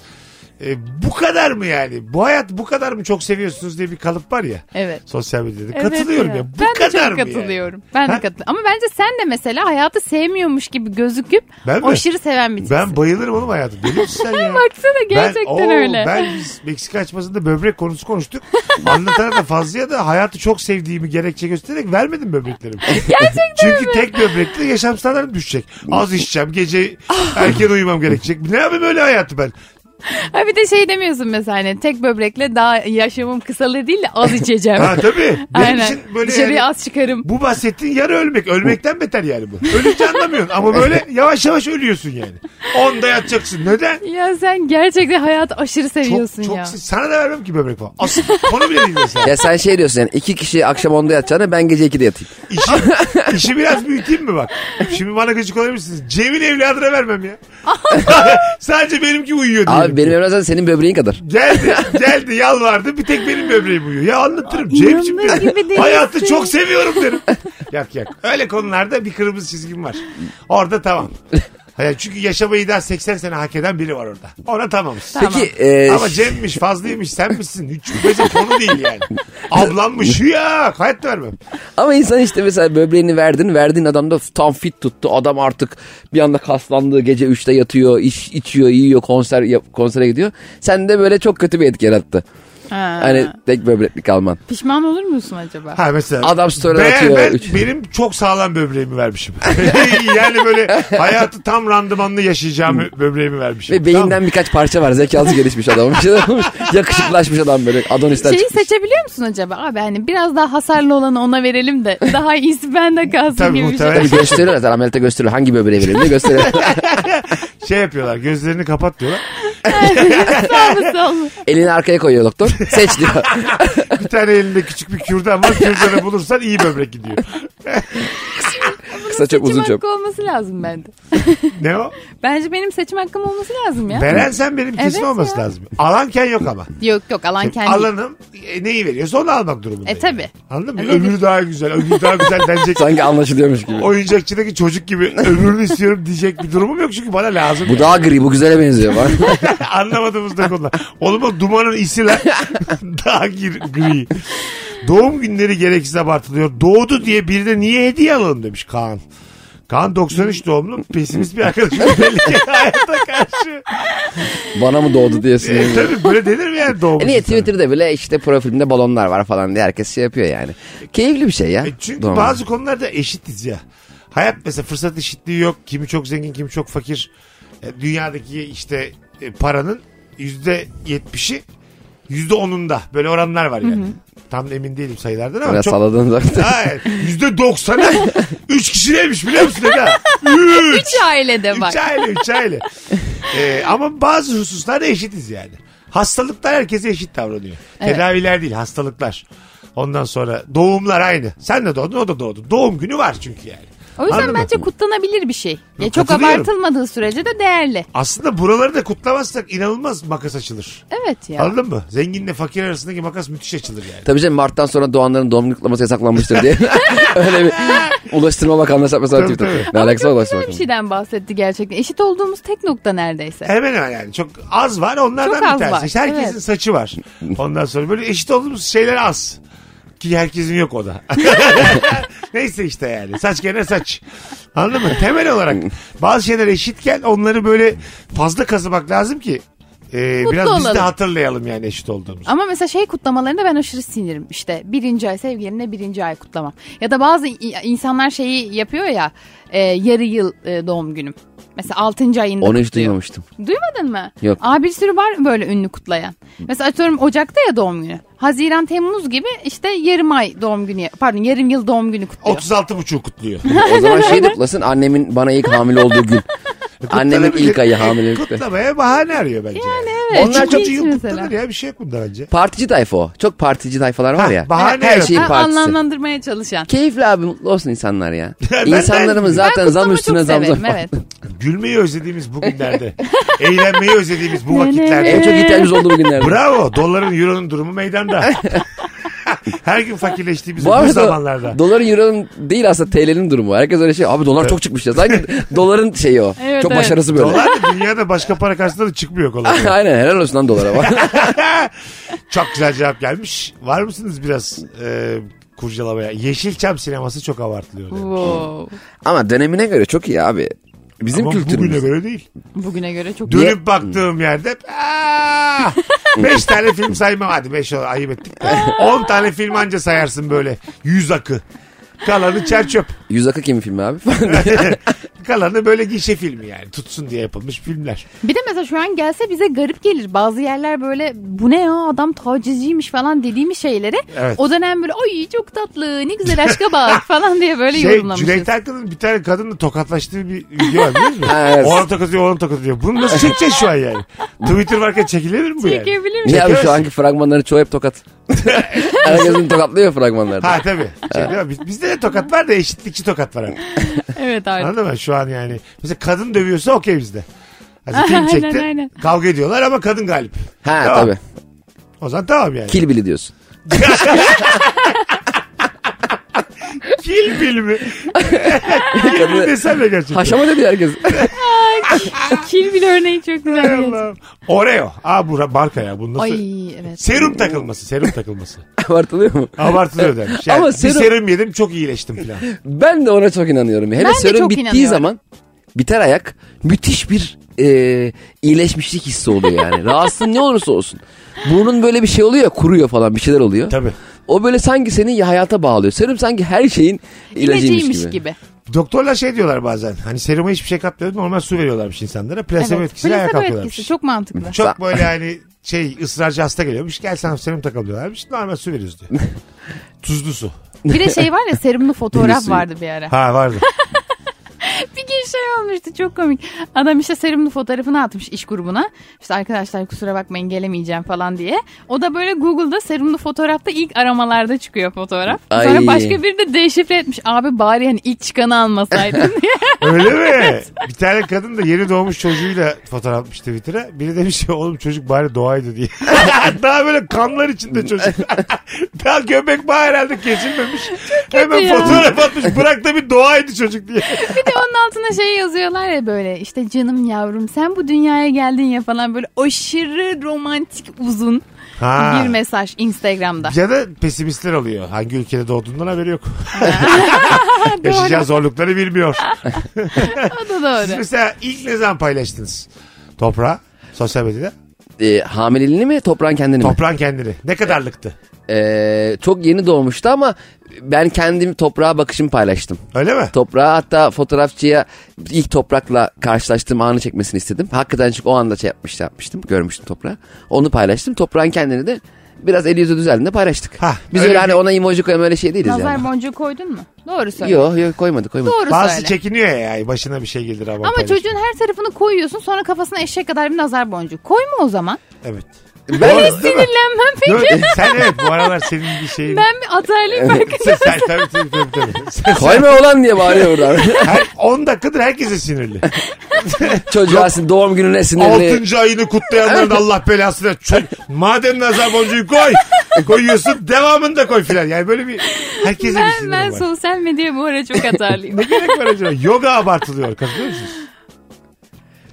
[SPEAKER 2] Ee, bu kadar mı yani? Bu hayat bu kadar mı çok seviyorsunuz diye bir kalıp var ya.
[SPEAKER 3] Evet.
[SPEAKER 2] Sosyal medyada.
[SPEAKER 3] Evet
[SPEAKER 2] katılıyorum ya. Bu
[SPEAKER 3] ben
[SPEAKER 2] kadar
[SPEAKER 3] de çok
[SPEAKER 2] mı yani?
[SPEAKER 3] katılıyorum. Ben
[SPEAKER 2] Ha?
[SPEAKER 3] de katılıyorum. Ama bence sen de mesela hayatı sevmiyormuş gibi gözüküp
[SPEAKER 2] Ben mi?
[SPEAKER 3] aşırı seven bir
[SPEAKER 2] Ben
[SPEAKER 3] tipsin.
[SPEAKER 2] bayılırım oğlum hayatım. Deli misin sen
[SPEAKER 3] *laughs*
[SPEAKER 2] ya?
[SPEAKER 3] Baksana gerçekten
[SPEAKER 2] ben, oo,
[SPEAKER 3] öyle.
[SPEAKER 2] Ben biz Meksika açmasında böbrek konusu konuştuk. *laughs* Anlatana da fazlaya da hayatı çok sevdiğimi gerekçe göstererek vermedim
[SPEAKER 3] *laughs*
[SPEAKER 2] böbreklerimi. Gerçekten Çünkü tek böbrekle yaşam standartım düşecek. Az içeceğim, gece
[SPEAKER 3] Ah.
[SPEAKER 2] erken uyumam gerekecek. Ne yapayım öyle hayatı ben?
[SPEAKER 3] Ha bir de şey demiyorsun mesela hani tek böbrekle daha yaşamım kısalır değil de az içeceğim.
[SPEAKER 2] Ha tabii. Benim
[SPEAKER 3] Aynen.
[SPEAKER 2] için böyle
[SPEAKER 3] Dışarıya
[SPEAKER 2] yani-
[SPEAKER 3] az çıkarım.
[SPEAKER 2] Bu bahsettiğin yarı ölmek. Ölmekten beter yani bu. Ölünce anlamıyorsun ama
[SPEAKER 3] *laughs*
[SPEAKER 2] böyle yavaş yavaş ölüyorsun yani. Onda yatacaksın. Neden?
[SPEAKER 3] Ya sen gerçekten hayatı aşırı
[SPEAKER 2] Çok,
[SPEAKER 3] seviyorsun
[SPEAKER 2] çok
[SPEAKER 3] ya.
[SPEAKER 2] sana da vermem ki böbrek falan. Asıl konu bile değil mesela.
[SPEAKER 4] ya sen şey diyorsun yani iki kişi akşam onda yatacağına ben gece 2'de yatayım.
[SPEAKER 2] İşi, işi biraz büyüteyim mi bak? Şimdi bana gıcık olabilirsiniz. Cem'in evladına vermem ya. Sadece benimki uyuyor diyelim.
[SPEAKER 4] Abi benim evren zaten senin böbreğin kadar.
[SPEAKER 2] Geldi, geldi yalvardı. Bir tek benim böbreğim uyuyor. Ya anlatırım. Cem'cim
[SPEAKER 3] inanılır gibi
[SPEAKER 2] derim.
[SPEAKER 3] değilsin.
[SPEAKER 2] Hayatı çok seviyorum derim. yak yak. Öyle konularda bir kırmızı çizgim var. Orada tamam. Hayır, çünkü yaşamayı daha 80 sene hak eden biri var orada. Ona tamamız.
[SPEAKER 4] Peki e,
[SPEAKER 2] Ama Cem'miş, Fazlı'ymış, sen misin? Hiç bizim konu değil yani. Ablammış ya. Hayat vermem.
[SPEAKER 4] Ama insan işte mesela böbreğini verdin, verdiğin adam da tam fit tuttu. Adam artık bir anda kaslandı, gece 3'te yatıyor, iş, içiyor, yiyor, konser yap- konsere gidiyor. Sen de böyle çok kötü bir etki yarattı.
[SPEAKER 3] Ha.
[SPEAKER 4] Hani tek böbreklik alman.
[SPEAKER 3] Pişman olur musun acaba?
[SPEAKER 2] Ha mesela.
[SPEAKER 4] Adam story
[SPEAKER 2] Ben-
[SPEAKER 4] atıyor.
[SPEAKER 2] ben
[SPEAKER 4] Üç-
[SPEAKER 2] benim çok sağlam böbreğimi vermişim. *laughs* yani böyle hayatı tam randımanlı yaşayacağım böbreğimi vermişim.
[SPEAKER 4] Hmm. Ve beyinden
[SPEAKER 2] Tamam.
[SPEAKER 4] birkaç parça var. Zekası gelişmiş adam. *laughs* Bir şeyler olmuş. Yakışıklaşmış adam böyle. Adonis'ten
[SPEAKER 3] Şeyi
[SPEAKER 4] çıkmış.
[SPEAKER 3] seçebiliyor musun acaba? Abi hani biraz daha hasarlı olanı ona
[SPEAKER 2] *laughs*
[SPEAKER 3] verelim de daha iyisi bende kalsın
[SPEAKER 2] Tabii
[SPEAKER 3] gibi bir şey.
[SPEAKER 2] muhtemelen.
[SPEAKER 4] Tabii gösteriyor zaten ameliyatta gösteriyor. Hangi böbreği verildi gösteriyor.
[SPEAKER 2] Şey yapıyorlar gözlerini kapat diyorlar.
[SPEAKER 3] Sağ mı, sol mu?
[SPEAKER 4] Elini arkaya koyuyor doktor. Seç diyor.
[SPEAKER 2] Bir tane elinde küçük bir kürdan var. Kürdanı bulursan iyi böbrek gidiyor. *laughs*
[SPEAKER 4] Kısa çöp
[SPEAKER 3] Seçim
[SPEAKER 4] uzun çöp.
[SPEAKER 3] hakkı olması lazım bende.
[SPEAKER 2] Ne o?
[SPEAKER 3] Bence benim seçim hakkım olması lazım ya.
[SPEAKER 2] Veren sen benim kesin
[SPEAKER 3] Evet
[SPEAKER 2] olması
[SPEAKER 3] ya.
[SPEAKER 2] lazım. Alanken yok ama.
[SPEAKER 3] Yok yok alan kendi.
[SPEAKER 2] Alanım e, neyi veriyorsa onu almak durumunda.
[SPEAKER 3] E, tabii.
[SPEAKER 2] yani. Anladın mı?
[SPEAKER 3] E,
[SPEAKER 2] Öbürü daha güzel, öbürü daha güzel
[SPEAKER 4] *laughs*
[SPEAKER 2] denecek.
[SPEAKER 4] Sanki anlaşılıyormuş gibi.
[SPEAKER 2] Oyuncakçıdaki çocuk gibi öbürünü istiyorum diyecek bir durumum yok çünkü bana lazım.
[SPEAKER 4] Bu daha gri, bu güzele benziyor. bak.
[SPEAKER 2] *laughs* Anlamadığımız da konular. Oğlum o dumanın isi lan. Daha gir, gri. Doğum günleri gereksiz abartılıyor. Doğdu diye bir de niye hediye alalım demiş Kaan. Kaan 93 doğumlu pesimist bir arkadaşım belli ki hayata karşı.
[SPEAKER 4] Bana mı doğdu diye
[SPEAKER 2] E,
[SPEAKER 4] sinirleniyor.
[SPEAKER 2] tabii böyle denir mi yani doğum
[SPEAKER 4] E niye
[SPEAKER 2] günü?
[SPEAKER 4] Twitter'da bile işte profilimde balonlar var falan diye herkes şey yapıyor yani. Keyifli bir şey ya.
[SPEAKER 2] E, çünkü
[SPEAKER 4] Doğru.
[SPEAKER 2] bazı konularda eşitiz ya. Hayat mesela fırsat eşitliği yok. Kimi çok zengin, kimi çok fakir. E, Dünyadaki işte e, paranın yüzde yetmişi yüzde onunda. Böyle oranlar var yani. Tam emin değilim sayılardan ama
[SPEAKER 4] Biraz
[SPEAKER 2] çok
[SPEAKER 4] salladığın zaman- *laughs*
[SPEAKER 2] Hayır. Yüzde doksanı üç kişi neymiş biliyor musun Eda? Üç.
[SPEAKER 3] Üç ailede bak.
[SPEAKER 2] Üç aile, üç
[SPEAKER 3] *laughs*
[SPEAKER 2] aile. Ee, ama bazı hususlarda eşitiz yani. Hastalıklar herkese eşit davranıyor.
[SPEAKER 3] Evet.
[SPEAKER 2] Tedaviler değil, hastalıklar. Ondan sonra doğumlar aynı. Sen de doğdun, o da doğdu. Doğum günü var çünkü yani.
[SPEAKER 3] O yüzden
[SPEAKER 2] Anladın mı?
[SPEAKER 3] bence kutlanabilir bir şey. Ya çok
[SPEAKER 2] katılıyorum.
[SPEAKER 3] abartılmadığı sürece de değerli.
[SPEAKER 2] Aslında buraları da kutlamazsak inanılmaz makas açılır.
[SPEAKER 3] Evet ya.
[SPEAKER 2] Anladın mı? Zenginle fakir arasındaki makas müthiş açılır yani.
[SPEAKER 4] Tabii canım Mart'tan sonra doğanların doğum günü kutlaması yasaklanmıştır diye. *laughs* Öyle bir Ulaştırma Bakanlığı hesap
[SPEAKER 2] Tabii,
[SPEAKER 4] Twitter. Ne alakası var
[SPEAKER 3] Güzel
[SPEAKER 4] Ulaştırma
[SPEAKER 3] bir şey.
[SPEAKER 4] Bakanlığı?
[SPEAKER 3] şeyden bahsetti gerçekten. Eşit olduğumuz tek nokta neredeyse.
[SPEAKER 2] Hemen hemen yani. Çok az var onlardan
[SPEAKER 3] Çok az
[SPEAKER 2] bir tanesi.
[SPEAKER 3] var,
[SPEAKER 2] İşte herkesin
[SPEAKER 3] evet.
[SPEAKER 2] saçı var. Ondan sonra böyle eşit olduğumuz şeyler az. Ki herkesin yok o
[SPEAKER 3] *laughs*
[SPEAKER 2] da. Neyse işte yani. Saç gene saç. Anladın mı? Temel olarak bazı şeyler eşitken onları böyle fazla kazımak lazım ki e,
[SPEAKER 3] Mutlu
[SPEAKER 2] biraz biz de
[SPEAKER 3] olalım.
[SPEAKER 2] hatırlayalım yani eşit olduğumuzu.
[SPEAKER 3] Ama mesela şey kutlamalarında ben aşırı sinirim. İşte birinci ay sevgilimle birinci ay kutlamam. Ya da bazı i- insanlar şeyi yapıyor ya e, yarı yıl e, doğum günüm. Mesela 6. ayında
[SPEAKER 4] Onu hiç
[SPEAKER 3] kutluyor.
[SPEAKER 4] duymamıştım.
[SPEAKER 3] Duymadın mı?
[SPEAKER 4] Yok.
[SPEAKER 3] Aa, bir sürü var böyle ünlü kutlayan. Mesela atıyorum Ocak'ta ya doğum günü. Haziran Temmuz gibi işte yarım ay doğum günü pardon yarım yıl doğum günü kutluyor. *laughs*
[SPEAKER 2] 36 buçuk kutluyor. E,
[SPEAKER 4] O zaman şey de kutlasın annemin bana ilk hamile olduğu gün. Annemin ilk ayı hamilelikte.
[SPEAKER 2] Kutlamaya bahane arıyor bence. Yani
[SPEAKER 3] evet,
[SPEAKER 2] Onlar
[SPEAKER 3] çok
[SPEAKER 2] çok
[SPEAKER 3] iyi
[SPEAKER 2] iyi
[SPEAKER 3] mesela.
[SPEAKER 2] kutlanır ya bir şey yok bunda bence.
[SPEAKER 4] Partici tayfa o. Çok partici tayfalar var
[SPEAKER 2] Ha,
[SPEAKER 4] ya.
[SPEAKER 2] bahane
[SPEAKER 4] Her
[SPEAKER 2] yaratıyor.
[SPEAKER 4] şeyin
[SPEAKER 3] Ha,
[SPEAKER 4] partisi.
[SPEAKER 3] anlamlandırmaya çalışan.
[SPEAKER 4] Keyifli abi mutlu olsun insanlar ya.
[SPEAKER 2] *laughs* Ben-
[SPEAKER 4] İnsanlarımız
[SPEAKER 3] Ben
[SPEAKER 4] zaten zam
[SPEAKER 3] kutlamayı
[SPEAKER 4] üstüne
[SPEAKER 3] çok
[SPEAKER 4] zam zam.
[SPEAKER 3] severim, Evet.
[SPEAKER 2] Gülmeyi özlediğimiz bugünlerde. *laughs* Eğlenmeyi özlediğimiz bu
[SPEAKER 4] *laughs* En
[SPEAKER 2] vakitlerde.
[SPEAKER 4] çok ihtiyacımız olduğu günlerde.
[SPEAKER 2] Bravo. Doların, euronun durumu
[SPEAKER 4] *laughs*
[SPEAKER 2] meydanda. Her gün fakirleştiğimiz bu,
[SPEAKER 4] Bu arada
[SPEAKER 2] zamanlarda.
[SPEAKER 4] doların euronun değil aslında TL'nin durumu. Herkes öyle şey abi dolar çok çıkmış ya.
[SPEAKER 2] *laughs*
[SPEAKER 4] Sanki doların şeyi o.
[SPEAKER 3] Evet,
[SPEAKER 4] çok
[SPEAKER 3] evet.
[SPEAKER 4] başarısı böyle.
[SPEAKER 2] Dolar da dünyada başka para karşısında da çıkmıyor kolay. kolay.
[SPEAKER 4] *laughs* Aynen helal olsun lan
[SPEAKER 2] *laughs*
[SPEAKER 4] dolara *laughs* bak.
[SPEAKER 2] Çok güzel cevap gelmiş. Var mısınız biraz e, kurcalamaya? Yeşilçam sineması çok abartılıyor. demiş.
[SPEAKER 3] Wow.
[SPEAKER 4] Ama dönemine göre çok iyi abi. Bizim
[SPEAKER 2] Ama
[SPEAKER 4] kültürümüz.
[SPEAKER 2] bugüne göre değil.
[SPEAKER 3] Bugüne göre çok iyi.
[SPEAKER 2] Dönüp baktığım yerde
[SPEAKER 4] *laughs*
[SPEAKER 2] "Aa!" beş tane film saymam hadi beş ol- ayıp ettik de. On tane film anca sayarsın böyle. Yüz akı. Kalanı çer çöp.
[SPEAKER 4] Yüz akı kim
[SPEAKER 2] *laughs*
[SPEAKER 4] filmi abi? *laughs*
[SPEAKER 2] Kalanı böyle gişe filmi yani. Tutsun diye yapılmış filmler.
[SPEAKER 3] Bir de mesela şu an gelse bize garip gelir. Bazı yerler böyle bu ne ya adam tacizciymiş falan dediğimiz şeyleri.
[SPEAKER 2] Evet.
[SPEAKER 3] O dönem böyle ay çok tatlı ne güzel
[SPEAKER 2] *laughs*
[SPEAKER 3] aşka bak falan diye böyle
[SPEAKER 2] Şey
[SPEAKER 3] yorumlamışız.
[SPEAKER 2] Cüneyt Arkın'ın bir tane kadınla tokatlaştığı bir video var değil mi?
[SPEAKER 4] *laughs* Ha, evet.
[SPEAKER 2] Ona tokat diyor, ona tokat diyor. Bunu nasıl çekeceğiz şu an yani? Twitter varken çekilebilir mi bu yani?
[SPEAKER 3] Çekebilir miyim?
[SPEAKER 4] Niye abi
[SPEAKER 2] Çekemezsin.
[SPEAKER 4] şu anki fragmanları çoğu
[SPEAKER 2] *laughs*
[SPEAKER 4] hep tokat. Herkesin tokatlıyor fragmanlarda.
[SPEAKER 2] Ha tabii. Şey diyor, biz, bizde de tokat var da eşitlikçi tokat var. artık.
[SPEAKER 3] Evet abi.
[SPEAKER 2] Anladın mı? Şu an yani. Mesela kadın dövüyorsa okey bizde.
[SPEAKER 3] *laughs*
[SPEAKER 2] Hadi film
[SPEAKER 3] Aynen,
[SPEAKER 2] çekti.
[SPEAKER 3] aynen.
[SPEAKER 2] Kavga ediyorlar ama kadın galip.
[SPEAKER 4] Ha
[SPEAKER 2] Tamam.
[SPEAKER 4] tabii.
[SPEAKER 2] O zaman tamam yani.
[SPEAKER 4] Kill Bill'i diyorsun.
[SPEAKER 2] Kil
[SPEAKER 4] *laughs*
[SPEAKER 2] filmi. *laughs* Kil mi desem de gerçekten.
[SPEAKER 4] Haşama dedi herkes. *laughs*
[SPEAKER 3] *laughs* Kil bile örneği çok güzel.
[SPEAKER 2] Hay
[SPEAKER 3] geldi.
[SPEAKER 2] Allah'ım. Oreo. Aa bu ra- marka ya. Bu nasıl?
[SPEAKER 3] Ay evet.
[SPEAKER 2] Serum takılması. Serum takılması.
[SPEAKER 4] Abartılıyor mu?
[SPEAKER 2] Abartılıyor demiş. Yani
[SPEAKER 4] Ama
[SPEAKER 2] bir
[SPEAKER 4] serum-
[SPEAKER 2] serum yedim çok iyileştim falan.
[SPEAKER 4] Ben de ona çok inanıyorum. Hele
[SPEAKER 3] Ben de
[SPEAKER 4] serum
[SPEAKER 3] çok
[SPEAKER 4] bittiği
[SPEAKER 3] inanıyorum.
[SPEAKER 4] zaman biter ayak müthiş bir e, iyileşmişlik hissi oluyor
[SPEAKER 3] *laughs*
[SPEAKER 4] yani. Rahatsızın ne olursa olsun. Burnun böyle bir şey oluyor ya kuruyor falan bir şeyler oluyor.
[SPEAKER 2] Tabii.
[SPEAKER 4] O böyle sanki seni hayata bağlıyor. Serum sanki her şeyin ilacıymış
[SPEAKER 3] İlacıymış
[SPEAKER 4] gibi.
[SPEAKER 3] gibi.
[SPEAKER 2] Doktorlar şey diyorlar bazen. Hani seruma hiçbir şey katmıyoruz. Normal su veriyorlarmış insanlara. Plasebo
[SPEAKER 3] Evet.
[SPEAKER 2] etkisiyle ayağa
[SPEAKER 3] Placebo
[SPEAKER 2] kalkıyorlarmış.
[SPEAKER 3] etkisi çok mantıklı.
[SPEAKER 2] Çok böyle hani şey ısrarcı hasta geliyormuş. Gel sana serum takalım diyorlarmış. Normal su veriyoruz diyor. Tuzlu su. *laughs*
[SPEAKER 3] Bir de şey var ya serumlu
[SPEAKER 4] Deniz
[SPEAKER 3] fotoğraf
[SPEAKER 4] suyu.
[SPEAKER 3] vardı bir ara.
[SPEAKER 2] Ha vardı.
[SPEAKER 3] Bir gün şey olmuştu çok komik. Adam işte serumlu fotoğrafını atmış iş grubuna. İşte arkadaşlar kusura bakmayın gelemeyeceğim falan diye. O da böyle Google'da serumlu fotoğrafta ilk aramalarda çıkıyor fotoğraf.
[SPEAKER 4] Ay.
[SPEAKER 3] Sonra başka biri de deşifre etmiş. Abi bari hani ilk çıkanı
[SPEAKER 4] *laughs*
[SPEAKER 3] almasaydın diye.
[SPEAKER 2] Öyle mi? Bir tane kadın da yeni doğmuş çocuğuyla fotoğraf atmış Twitter'a. Biri demiş ki oğlum çocuk bari doğaydı diye. *laughs* Daha böyle kanlar içinde çocuk. Daha göbek bağı herhalde kesilmemiş. Hemen
[SPEAKER 3] ya.
[SPEAKER 2] fotoğraf atmış. Bırak da bir doğaydı çocuk diye.
[SPEAKER 3] Bir de onun altına şey yazıyorlar ya böyle işte canım yavrum sen bu dünyaya geldin ya falan böyle aşırı romantik uzun
[SPEAKER 2] Ha.
[SPEAKER 3] bir mesaj Instagram'da.
[SPEAKER 2] Ya da pesimistler oluyor. Hangi ülkede doğduğundan haberi yok. Yaşayacağı zorlukları bilmiyor.
[SPEAKER 3] O da
[SPEAKER 2] Siz
[SPEAKER 3] doğru.
[SPEAKER 2] mesela ilk ne zaman paylaştınız? Toprağa. Sosyal medyada.
[SPEAKER 4] E, hamileliğini mi toprağın kendini mi?
[SPEAKER 2] Toprağın kendini. Ne kadarlıktı?
[SPEAKER 4] E, çok yeni doğmuştu ama ben kendim toprağa bakışımı paylaştım.
[SPEAKER 2] Öyle mi?
[SPEAKER 4] Toprağa hatta fotoğrafçıya ilk toprakla karşılaştığım anı çekmesini istedim. Hakikaten çünkü o anda şey yapmış, yapmıştım. Görmüştüm toprağı. Onu paylaştım. Toprağın kendini de biraz el yüzü düzeldiğinde paylaştık.
[SPEAKER 2] Ha,
[SPEAKER 4] Biz
[SPEAKER 2] öyle
[SPEAKER 4] öyle
[SPEAKER 2] bir-
[SPEAKER 4] hani ona emoji koyma öyle şey değiliz
[SPEAKER 3] Nazar
[SPEAKER 4] yani.
[SPEAKER 3] boncuğu koydun mu? Doğru söyle.
[SPEAKER 4] Yok yok koymadı koymadı.
[SPEAKER 3] Doğru
[SPEAKER 2] Bazı
[SPEAKER 3] söyle.
[SPEAKER 2] çekiniyor ya yani. Başına bir şey gelir ama.
[SPEAKER 3] Ama
[SPEAKER 2] paylaşma.
[SPEAKER 3] çocuğun her tarafını koyuyorsun sonra kafasına eşek kadar bir nazar boncuğu. Koyma o zaman.
[SPEAKER 2] Evet.
[SPEAKER 4] Ben-
[SPEAKER 2] Doğru, değil mi?
[SPEAKER 3] Sinirlenmem peki.
[SPEAKER 2] Yok, sen evet bu aralar senin bir şeyin.
[SPEAKER 3] Ben bir atarlıyım belki.
[SPEAKER 2] Sen, sen, tabii, tabii, tabii, tabii. Sen-
[SPEAKER 4] Koyma ulan diye bağırıyor buradan.
[SPEAKER 2] her 10 dakikadır herkese sinirli.
[SPEAKER 4] *laughs* Çocuğa sin- doğum gününe sinirli.
[SPEAKER 2] 6. ayını kutlayanların Allah belasını ver. Çok, madem nazar boncuğu koy. Koyuyorsun devamını da koy filan. Yani böyle bir herkese bir
[SPEAKER 3] Ben,
[SPEAKER 2] sinir
[SPEAKER 3] ben
[SPEAKER 2] var.
[SPEAKER 3] sosyal medyaya bu ara çok
[SPEAKER 4] *laughs*
[SPEAKER 3] atarlıyım.
[SPEAKER 2] Ne gerek var acaba? Yoga abartılıyor. Katılıyor musunuz?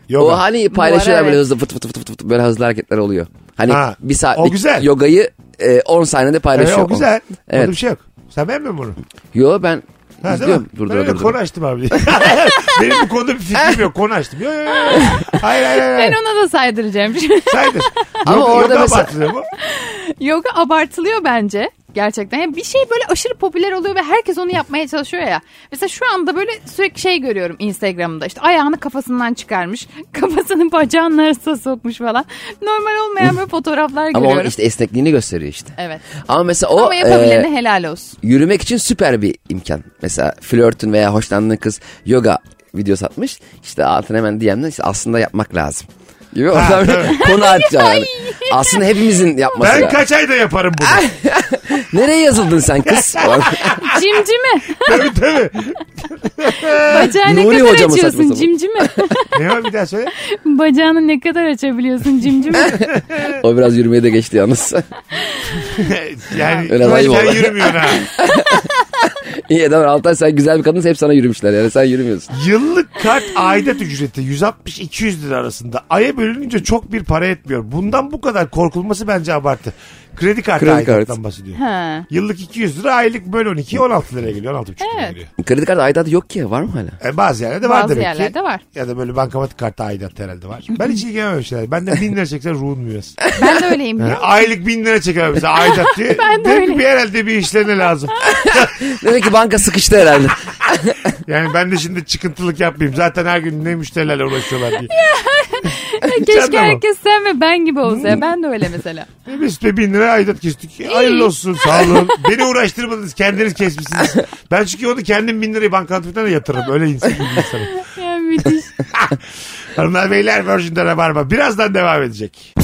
[SPEAKER 2] Yoga.
[SPEAKER 4] O hani paylaşıyorlar
[SPEAKER 3] evet.
[SPEAKER 4] böyle hızlı fıt fıt fıt fıt fıt böyle hızlı hareketler oluyor. Hani
[SPEAKER 2] Ha,
[SPEAKER 4] bir
[SPEAKER 2] o
[SPEAKER 4] saatlik
[SPEAKER 2] güzel.
[SPEAKER 4] yogayı e, 10 saniyede
[SPEAKER 2] Evet,
[SPEAKER 4] paylaşıyor.
[SPEAKER 2] o güzel. Evet.
[SPEAKER 4] Evet.
[SPEAKER 2] Orada bir şey yok. Sen beğenmiyor musun bunu?
[SPEAKER 4] Yo ben
[SPEAKER 2] Ha, değil
[SPEAKER 4] izliyorum.
[SPEAKER 2] mi?
[SPEAKER 4] Dur
[SPEAKER 2] ben
[SPEAKER 4] dur
[SPEAKER 2] öyle
[SPEAKER 4] dur. dur.
[SPEAKER 2] konu açtım abi. *laughs* Benim bu konuda bir fikrim yok. Konu açtım. Yok, yok, yok. Hayır hayır hayır.
[SPEAKER 3] Ben ona da saydıracağım. *laughs*
[SPEAKER 2] Saydır.
[SPEAKER 4] Ama
[SPEAKER 2] Yoga-
[SPEAKER 4] orada
[SPEAKER 2] yoga
[SPEAKER 4] mesela-
[SPEAKER 2] abartılıyor mu?
[SPEAKER 3] Yoga abartılıyor bence. Gerçekten. Yani bir şey böyle aşırı popüler oluyor ve herkes onu yapmaya çalışıyor ya. Mesela şu anda böyle sürekli şey görüyorum Instagram'da. İşte ayağını kafasından çıkarmış. *laughs* Kafasını bacağının arasına sokmuş falan. Normal
[SPEAKER 4] *laughs*
[SPEAKER 3] olmayan böyle fotoğraflar
[SPEAKER 4] Ama onun
[SPEAKER 3] görüyorum.
[SPEAKER 4] işte esnekliğini gösteriyor işte.
[SPEAKER 3] Evet.
[SPEAKER 4] Ama mesela o
[SPEAKER 3] Ama
[SPEAKER 4] e,
[SPEAKER 3] yapabilene helal olsun.
[SPEAKER 4] yürümek için süper bir imkan. Mesela flörtün veya hoşlandığın kız yoga video satmış. İşte altına hemen DM'den işte aslında yapmak lazım. Gibi
[SPEAKER 2] Ha,
[SPEAKER 4] oradan bir
[SPEAKER 2] tabii.
[SPEAKER 4] konu atacağım yani. Aslında hepimizin yapması
[SPEAKER 2] Ben
[SPEAKER 4] lazım.
[SPEAKER 2] kaç ayda yaparım bunu.
[SPEAKER 4] Nereye yazıldın
[SPEAKER 2] *laughs*
[SPEAKER 4] sen kız?
[SPEAKER 3] Cimcime. *laughs*
[SPEAKER 2] tabii tabii.
[SPEAKER 3] Bacağını ne
[SPEAKER 4] Nuri
[SPEAKER 3] kadar
[SPEAKER 4] hocamı
[SPEAKER 3] açıyorsun
[SPEAKER 4] saçma sapan.
[SPEAKER 3] cimcime.
[SPEAKER 2] Ne var bir daha söyle.
[SPEAKER 3] *laughs*
[SPEAKER 2] *laughs*
[SPEAKER 3] Bacağını ne kadar açabiliyorsun cimcime. *laughs*
[SPEAKER 4] o biraz yürümeye de geçti yalnız. *laughs*
[SPEAKER 2] yani
[SPEAKER 4] Öyle
[SPEAKER 2] sen
[SPEAKER 4] ayıp oldu.
[SPEAKER 2] yürümüyorsun ha.
[SPEAKER 4] İyi adam Altay sen güzel bir kadınsın hep sana yürümüşler yani sen yürümüyorsun.
[SPEAKER 2] Yıllık kart aidat ücreti 160-200 lira arasında. Aya bölününce çok bir para etmiyor. Bundan bu kadar korkulması bence abartı. Kredi kartı
[SPEAKER 4] Kredi
[SPEAKER 2] aidattan
[SPEAKER 4] kartı.
[SPEAKER 2] bahsediyor.
[SPEAKER 3] ha.
[SPEAKER 2] Yıllık 200 lira aylık böl 12 16 liraya geliyor. 16,5 liraya
[SPEAKER 3] Evet.
[SPEAKER 2] geliyor.
[SPEAKER 4] Kredi kartı aidatı yok ki var mı hala?
[SPEAKER 2] E, bazı yerlerde var
[SPEAKER 3] Bazı
[SPEAKER 2] demek ki.
[SPEAKER 3] yerlerde var.
[SPEAKER 2] Ya da böyle bankamatik kartı aidat herhalde var. Ben hiç ilgilenmem şeyler. Benden 1000 lira çeksen ruhun mu yersin?
[SPEAKER 3] Ben de öyleyim. *laughs*
[SPEAKER 2] Yani aylık 1000 lira çeker bize aidat diye.
[SPEAKER 3] Ben
[SPEAKER 2] Demek
[SPEAKER 3] de
[SPEAKER 2] ki
[SPEAKER 3] öyleyim.
[SPEAKER 2] bir herhalde bir işlerine lazım.
[SPEAKER 4] Demek ki banka sıkıştı herhalde.
[SPEAKER 2] Yani ben de şimdi çıkıntılık yapmayayım. Zaten her gün ne müşterilerle uğraşıyorlar diye.
[SPEAKER 3] Keşke
[SPEAKER 2] Canım.
[SPEAKER 3] herkes sen ve ben gibi olsa. ya. Ben de öyle mesela.
[SPEAKER 2] Mesut Bey E, bin lira aidat kestik. Hayırlı olsun sağ
[SPEAKER 3] *laughs*
[SPEAKER 2] olun. Beni uğraştırmadınız kendiniz kesmişsiniz. Ben çünkü onu kendim bin lirayı bankamatikten de yatırırım. Öyle insan gibi bir insanım.
[SPEAKER 3] *laughs* Ya müthiş.
[SPEAKER 2] Hanımlar beyler Virgin'de Rabarba birazdan devam edecek.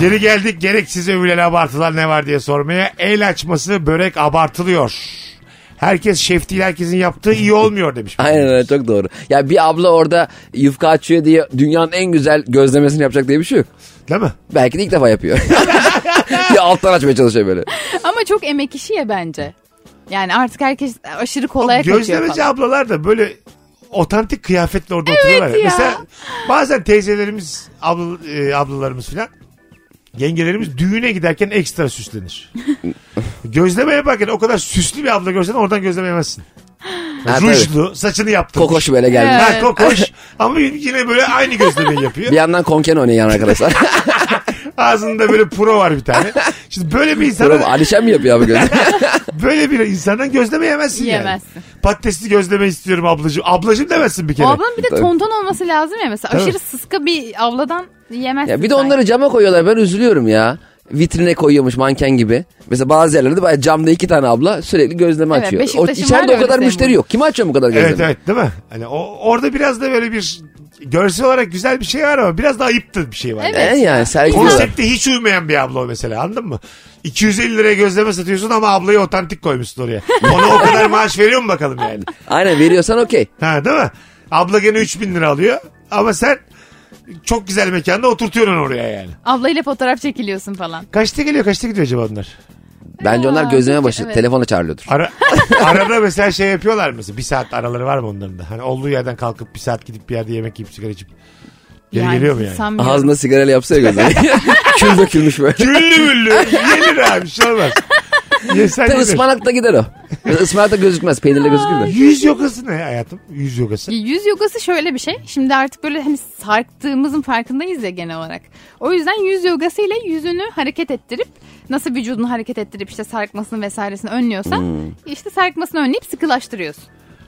[SPEAKER 2] Geri geldik gereksiz övülen abartılar ne var diye sormaya. El açması börek abartılıyor. Herkes şef değil herkesin yaptığı iyi olmuyor demiş.
[SPEAKER 4] Aynen öyle çok doğru. Ya bir abla orada yufka açıyor diye dünyanın en güzel gözlemesini yapacak diye bir şey yok.
[SPEAKER 2] Değil mi?
[SPEAKER 4] Belki de ilk defa yapıyor. *laughs* ya alttan açmaya çalışıyor böyle.
[SPEAKER 3] Ama çok emek işi ya bence. Yani artık herkes aşırı kolaya kaçıyor
[SPEAKER 2] Gözlemeci
[SPEAKER 3] falan.
[SPEAKER 2] ablalar da böyle otantik kıyafetle orada oturuyorlar.
[SPEAKER 3] ya.
[SPEAKER 2] Mesela bazen teyzelerimiz, abla, e, ablalarımız filan yengelerimiz düğüne giderken ekstra süslenir. Gözleme yaparken o kadar süslü bir abla görsen oradan gözlemeyemezsin.
[SPEAKER 4] Ha, tabii.
[SPEAKER 2] Rujlu, saçını yaptırmış.
[SPEAKER 4] Kokoş böyle geldi.
[SPEAKER 3] Evet.
[SPEAKER 2] Ha,
[SPEAKER 4] *laughs*
[SPEAKER 2] kokoş. Ama yine böyle aynı gözlemeyi yapıyor.
[SPEAKER 4] Bir yandan konken oynayan arkadaşlar.
[SPEAKER 2] Ağzında böyle pro var bir tane. Şimdi böyle bir
[SPEAKER 4] Sonra bu
[SPEAKER 2] insana,
[SPEAKER 4] Alişan mı yapıyor abi gözü?
[SPEAKER 2] böyle bir insandan gözleme yemezsin yani.
[SPEAKER 3] Yiyemezsin.
[SPEAKER 2] Patatesli gözleme istiyorum ablacığım. Ablacığım demezsin bir
[SPEAKER 3] O
[SPEAKER 2] kere.
[SPEAKER 3] ablanın bir de
[SPEAKER 4] Tabii.
[SPEAKER 3] tonton olması lazım ya mesela.
[SPEAKER 2] Tabii.
[SPEAKER 3] Aşırı sıska bir avladan yemezsin.
[SPEAKER 4] ya bir de
[SPEAKER 3] sanki.
[SPEAKER 4] onları cama koyuyorlar ben üzülüyorum ya. Vitrine koyuyormuş manken gibi. Mesela bazı yerlerde bayağı camda iki tane abla sürekli gözleme
[SPEAKER 3] Evet,
[SPEAKER 4] açıyor. O,
[SPEAKER 3] Beşiktaş'ın var
[SPEAKER 4] içeride
[SPEAKER 3] ya
[SPEAKER 4] o kadar
[SPEAKER 3] öyle
[SPEAKER 4] müşteri
[SPEAKER 3] sembolü.
[SPEAKER 4] yok. Kim açıyor bu kadar gözleme?
[SPEAKER 2] Evet evet değil mi? Hani o, orada biraz da böyle bir görsel olarak güzel bir şey var ama biraz da ayıptır bir şey var.
[SPEAKER 3] Evet.
[SPEAKER 4] Ee, yani sergiliyorlar.
[SPEAKER 2] Konsepte hiç uymayan bir abla o mesela anladın mı? 250 liraya gözleme satıyorsun ama ablayı otantik koymuşsun oraya. Ona o kadar maaş veriyor mu bakalım yani?
[SPEAKER 4] Aynen veriyorsan okey.
[SPEAKER 2] Ha değil mi? Abla gene 3000 lira alıyor ama sen çok güzel mekanda oturtuyorsun oraya yani.
[SPEAKER 3] Ablayla fotoğraf çekiliyorsun falan.
[SPEAKER 2] Kaçta geliyor kaçta gidiyor acaba onlar?
[SPEAKER 4] Bence
[SPEAKER 3] Ya,
[SPEAKER 4] onlar gözleme
[SPEAKER 3] peki,
[SPEAKER 4] başı
[SPEAKER 3] evet.
[SPEAKER 4] telefonla çağırıyordur.
[SPEAKER 2] Ara, *laughs* arada mesela şey yapıyorlar mesela bir saat araları var mı onların da? Hani olduğu yerden kalkıp bir saat gidip bir yerde yemek yiyip sigara içip geri geliyor mu yani?
[SPEAKER 3] sanmıyorum.
[SPEAKER 4] Ağzına sigarayla yapsa ya *laughs* gözleme. Kül dökülmüş böyle.
[SPEAKER 2] Güllü
[SPEAKER 3] *laughs*
[SPEAKER 2] güllü. Yenir abi. Bir şey olmaz. Yesen
[SPEAKER 4] Tabii
[SPEAKER 2] yenir.
[SPEAKER 4] ıspanak da gider o. Ispanak da gözükmez. Peynirle gözükür de.
[SPEAKER 2] Yüz yogası ne hayatım? Yüz yogası.
[SPEAKER 3] Ya E, Yüz yogası şöyle bir şey. Şimdi artık böyle hani sarktığımızın farkındayız ya genel olarak. O yüzden yüz yogası ile yüzünü hareket ettirip nasıl vücudunu hareket ettirip işte sarkmasını vesairesini önlüyorsan işte sarkmasını önleyip sıkılaştırıyorsun.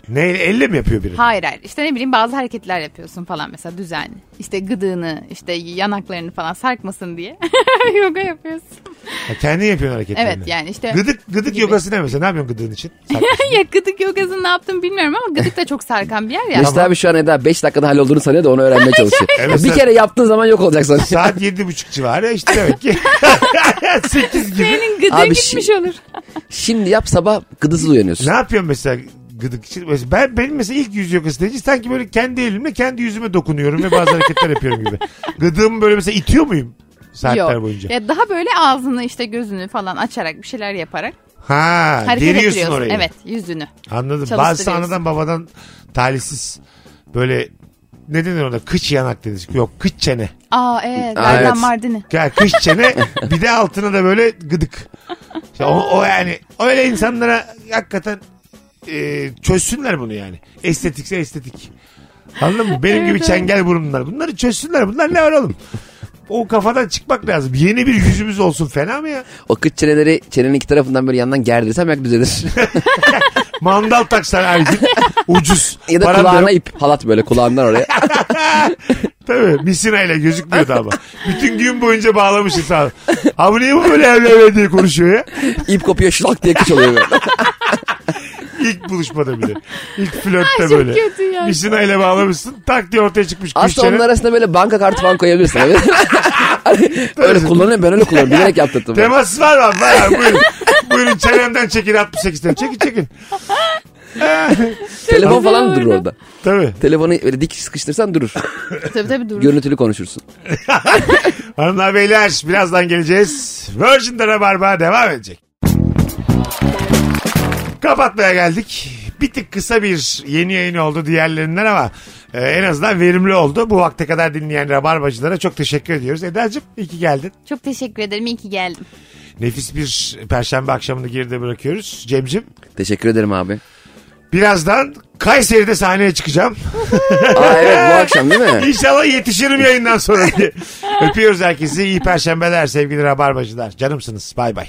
[SPEAKER 2] Neyle? Elle mi yapıyor biri?
[SPEAKER 3] Hayır hayır işte ne bileyim bazı hareketler yapıyorsun falan mesela düzenli. İşte gıdığını işte yanaklarını falan sarkmasın diye *laughs* yoga yapıyorsun. *laughs*
[SPEAKER 2] Ha, kendin yapıyorsun hareketlerini.
[SPEAKER 3] Evet yani işte
[SPEAKER 2] Gıdık, gıdık
[SPEAKER 3] Gibi.
[SPEAKER 2] yogası ne mesela? Ne yapıyorsun gıdığın için? Saklı.
[SPEAKER 3] ya gıdık yogasını ne yaptım bilmiyorum ama gıdık da çok sarkan bir yer ya.
[SPEAKER 4] Mesut abi şu an Eda 5 dakikada hallolduğunu sanıyor da onu öğrenmeye çalışıyor.
[SPEAKER 2] Evet,
[SPEAKER 4] bir
[SPEAKER 2] sen-
[SPEAKER 4] kere yaptığın zaman yok olacak sanıyor.
[SPEAKER 2] Saat yedi buçuk civarı işte demek ki. *laughs* Sekiz gibi.
[SPEAKER 3] Senin gıdığın
[SPEAKER 4] Abi
[SPEAKER 3] gitmiş
[SPEAKER 4] şi-
[SPEAKER 3] olur.
[SPEAKER 4] Şimdi yap sabah gıdısız uyanıyorsun.
[SPEAKER 2] Ne yapıyorsun mesela gıdık için? Mesela ben, benim mesela ilk yüz yogası deyince sanki böyle kendi elimle kendi yüzüme dokunuyorum ve bazı hareketler yapıyorum gibi. Gıdığımı böyle mesela itiyor muyum? Saatler
[SPEAKER 3] Yok.
[SPEAKER 2] boyunca.
[SPEAKER 3] Ya daha böyle ağzını işte gözünü falan açarak bir şeyler yaparak
[SPEAKER 2] Ha,
[SPEAKER 3] hareket
[SPEAKER 2] geriyorsun
[SPEAKER 3] ettiriyorsun.
[SPEAKER 2] orayı.
[SPEAKER 3] Evet yüzünü.
[SPEAKER 2] Anladım. Bazısı
[SPEAKER 3] Çalıştırıyorsun.
[SPEAKER 2] anadan babadan talihsiz böyle ne denir ona kıç yanak denir. Yok kıç çene.
[SPEAKER 3] Aa evet.
[SPEAKER 4] Aa,
[SPEAKER 3] Berdan
[SPEAKER 4] evet.
[SPEAKER 3] Mardini.
[SPEAKER 2] Ya kıç çene bir de altına da böyle gıdık. İşte o, o yani öyle insanlara hakikaten e, çözsünler bunu yani. Estetikse estetik. Anladın mı? Benim gibi çengel burunlar. Bunları çözsünler. Bunlar ne var oğlum? O kafadan çıkmak lazım. Yeni bir yüzümüz olsun fena mı ya?
[SPEAKER 4] O kıç çeneleri çenenin iki tarafından böyle yandan gerdirsem belki *laughs* düzelir.
[SPEAKER 2] Mandal taksan her gün. Ucuz.
[SPEAKER 4] ya da
[SPEAKER 2] Paran
[SPEAKER 4] kulağına
[SPEAKER 2] yok.
[SPEAKER 4] ip halat böyle kulağından *laughs* oraya.
[SPEAKER 2] Tabii misinayla gözükmüyordu ama. Bütün gün boyunca bağlamışız sağ ol. Abi niye bu böyle evle evle diye konuşuyor ya?
[SPEAKER 4] ip kopuyor şlak diye kıç oluyor böyle.
[SPEAKER 2] İlk buluşmada bile. İlk flörtte
[SPEAKER 3] Çok
[SPEAKER 2] böyle.
[SPEAKER 3] kötü ya.
[SPEAKER 2] Bir ile bağlamışsın tak diye ortaya çıkmış
[SPEAKER 4] Aslında
[SPEAKER 2] Gülşen'e.
[SPEAKER 4] onun arasında böyle banka kartı falan koyabilirsin. *laughs* Hani öyle kullanıyorum ben öyle kullanıyorum. Bilerek yaptırdım.
[SPEAKER 2] Temas var var var. Buyurun. Buyurun çenemden çekin 68 tane. Çekin çekin.
[SPEAKER 4] Telefon
[SPEAKER 3] güzel
[SPEAKER 4] falan durur
[SPEAKER 3] oydu.
[SPEAKER 4] orada.
[SPEAKER 2] Tabii.
[SPEAKER 4] Telefonu böyle dik sıkıştırsan durur.
[SPEAKER 3] tabii tabii durur.
[SPEAKER 4] Görüntülü konuşursun.
[SPEAKER 2] Hanımlar beyler birazdan geleceğiz. Virgin'de Rabarba devam edecek. Kapatmaya geldik. Bir tık kısa bir yeni yayın oldu diğerlerinden ama e, en azından verimli oldu. Bu vakte kadar dinleyen Rabarbacılara çok teşekkür ediyoruz. Eda'cığım iyi ki geldin.
[SPEAKER 3] Çok teşekkür ederim. İyi ki geldim.
[SPEAKER 2] Nefis bir perşembe akşamını geride bırakıyoruz. Cem'cim
[SPEAKER 4] Teşekkür ederim abi.
[SPEAKER 2] birazdan Kayseri'de sahneye çıkacağım.
[SPEAKER 4] Aa evet bu akşam değil *laughs* mi?
[SPEAKER 2] İnşallah yetişirim yayından sonra diye. Öpüyoruz herkesi. İyi perşembeler sevgili Rabarbacılar. Canımsınız. Bay bay.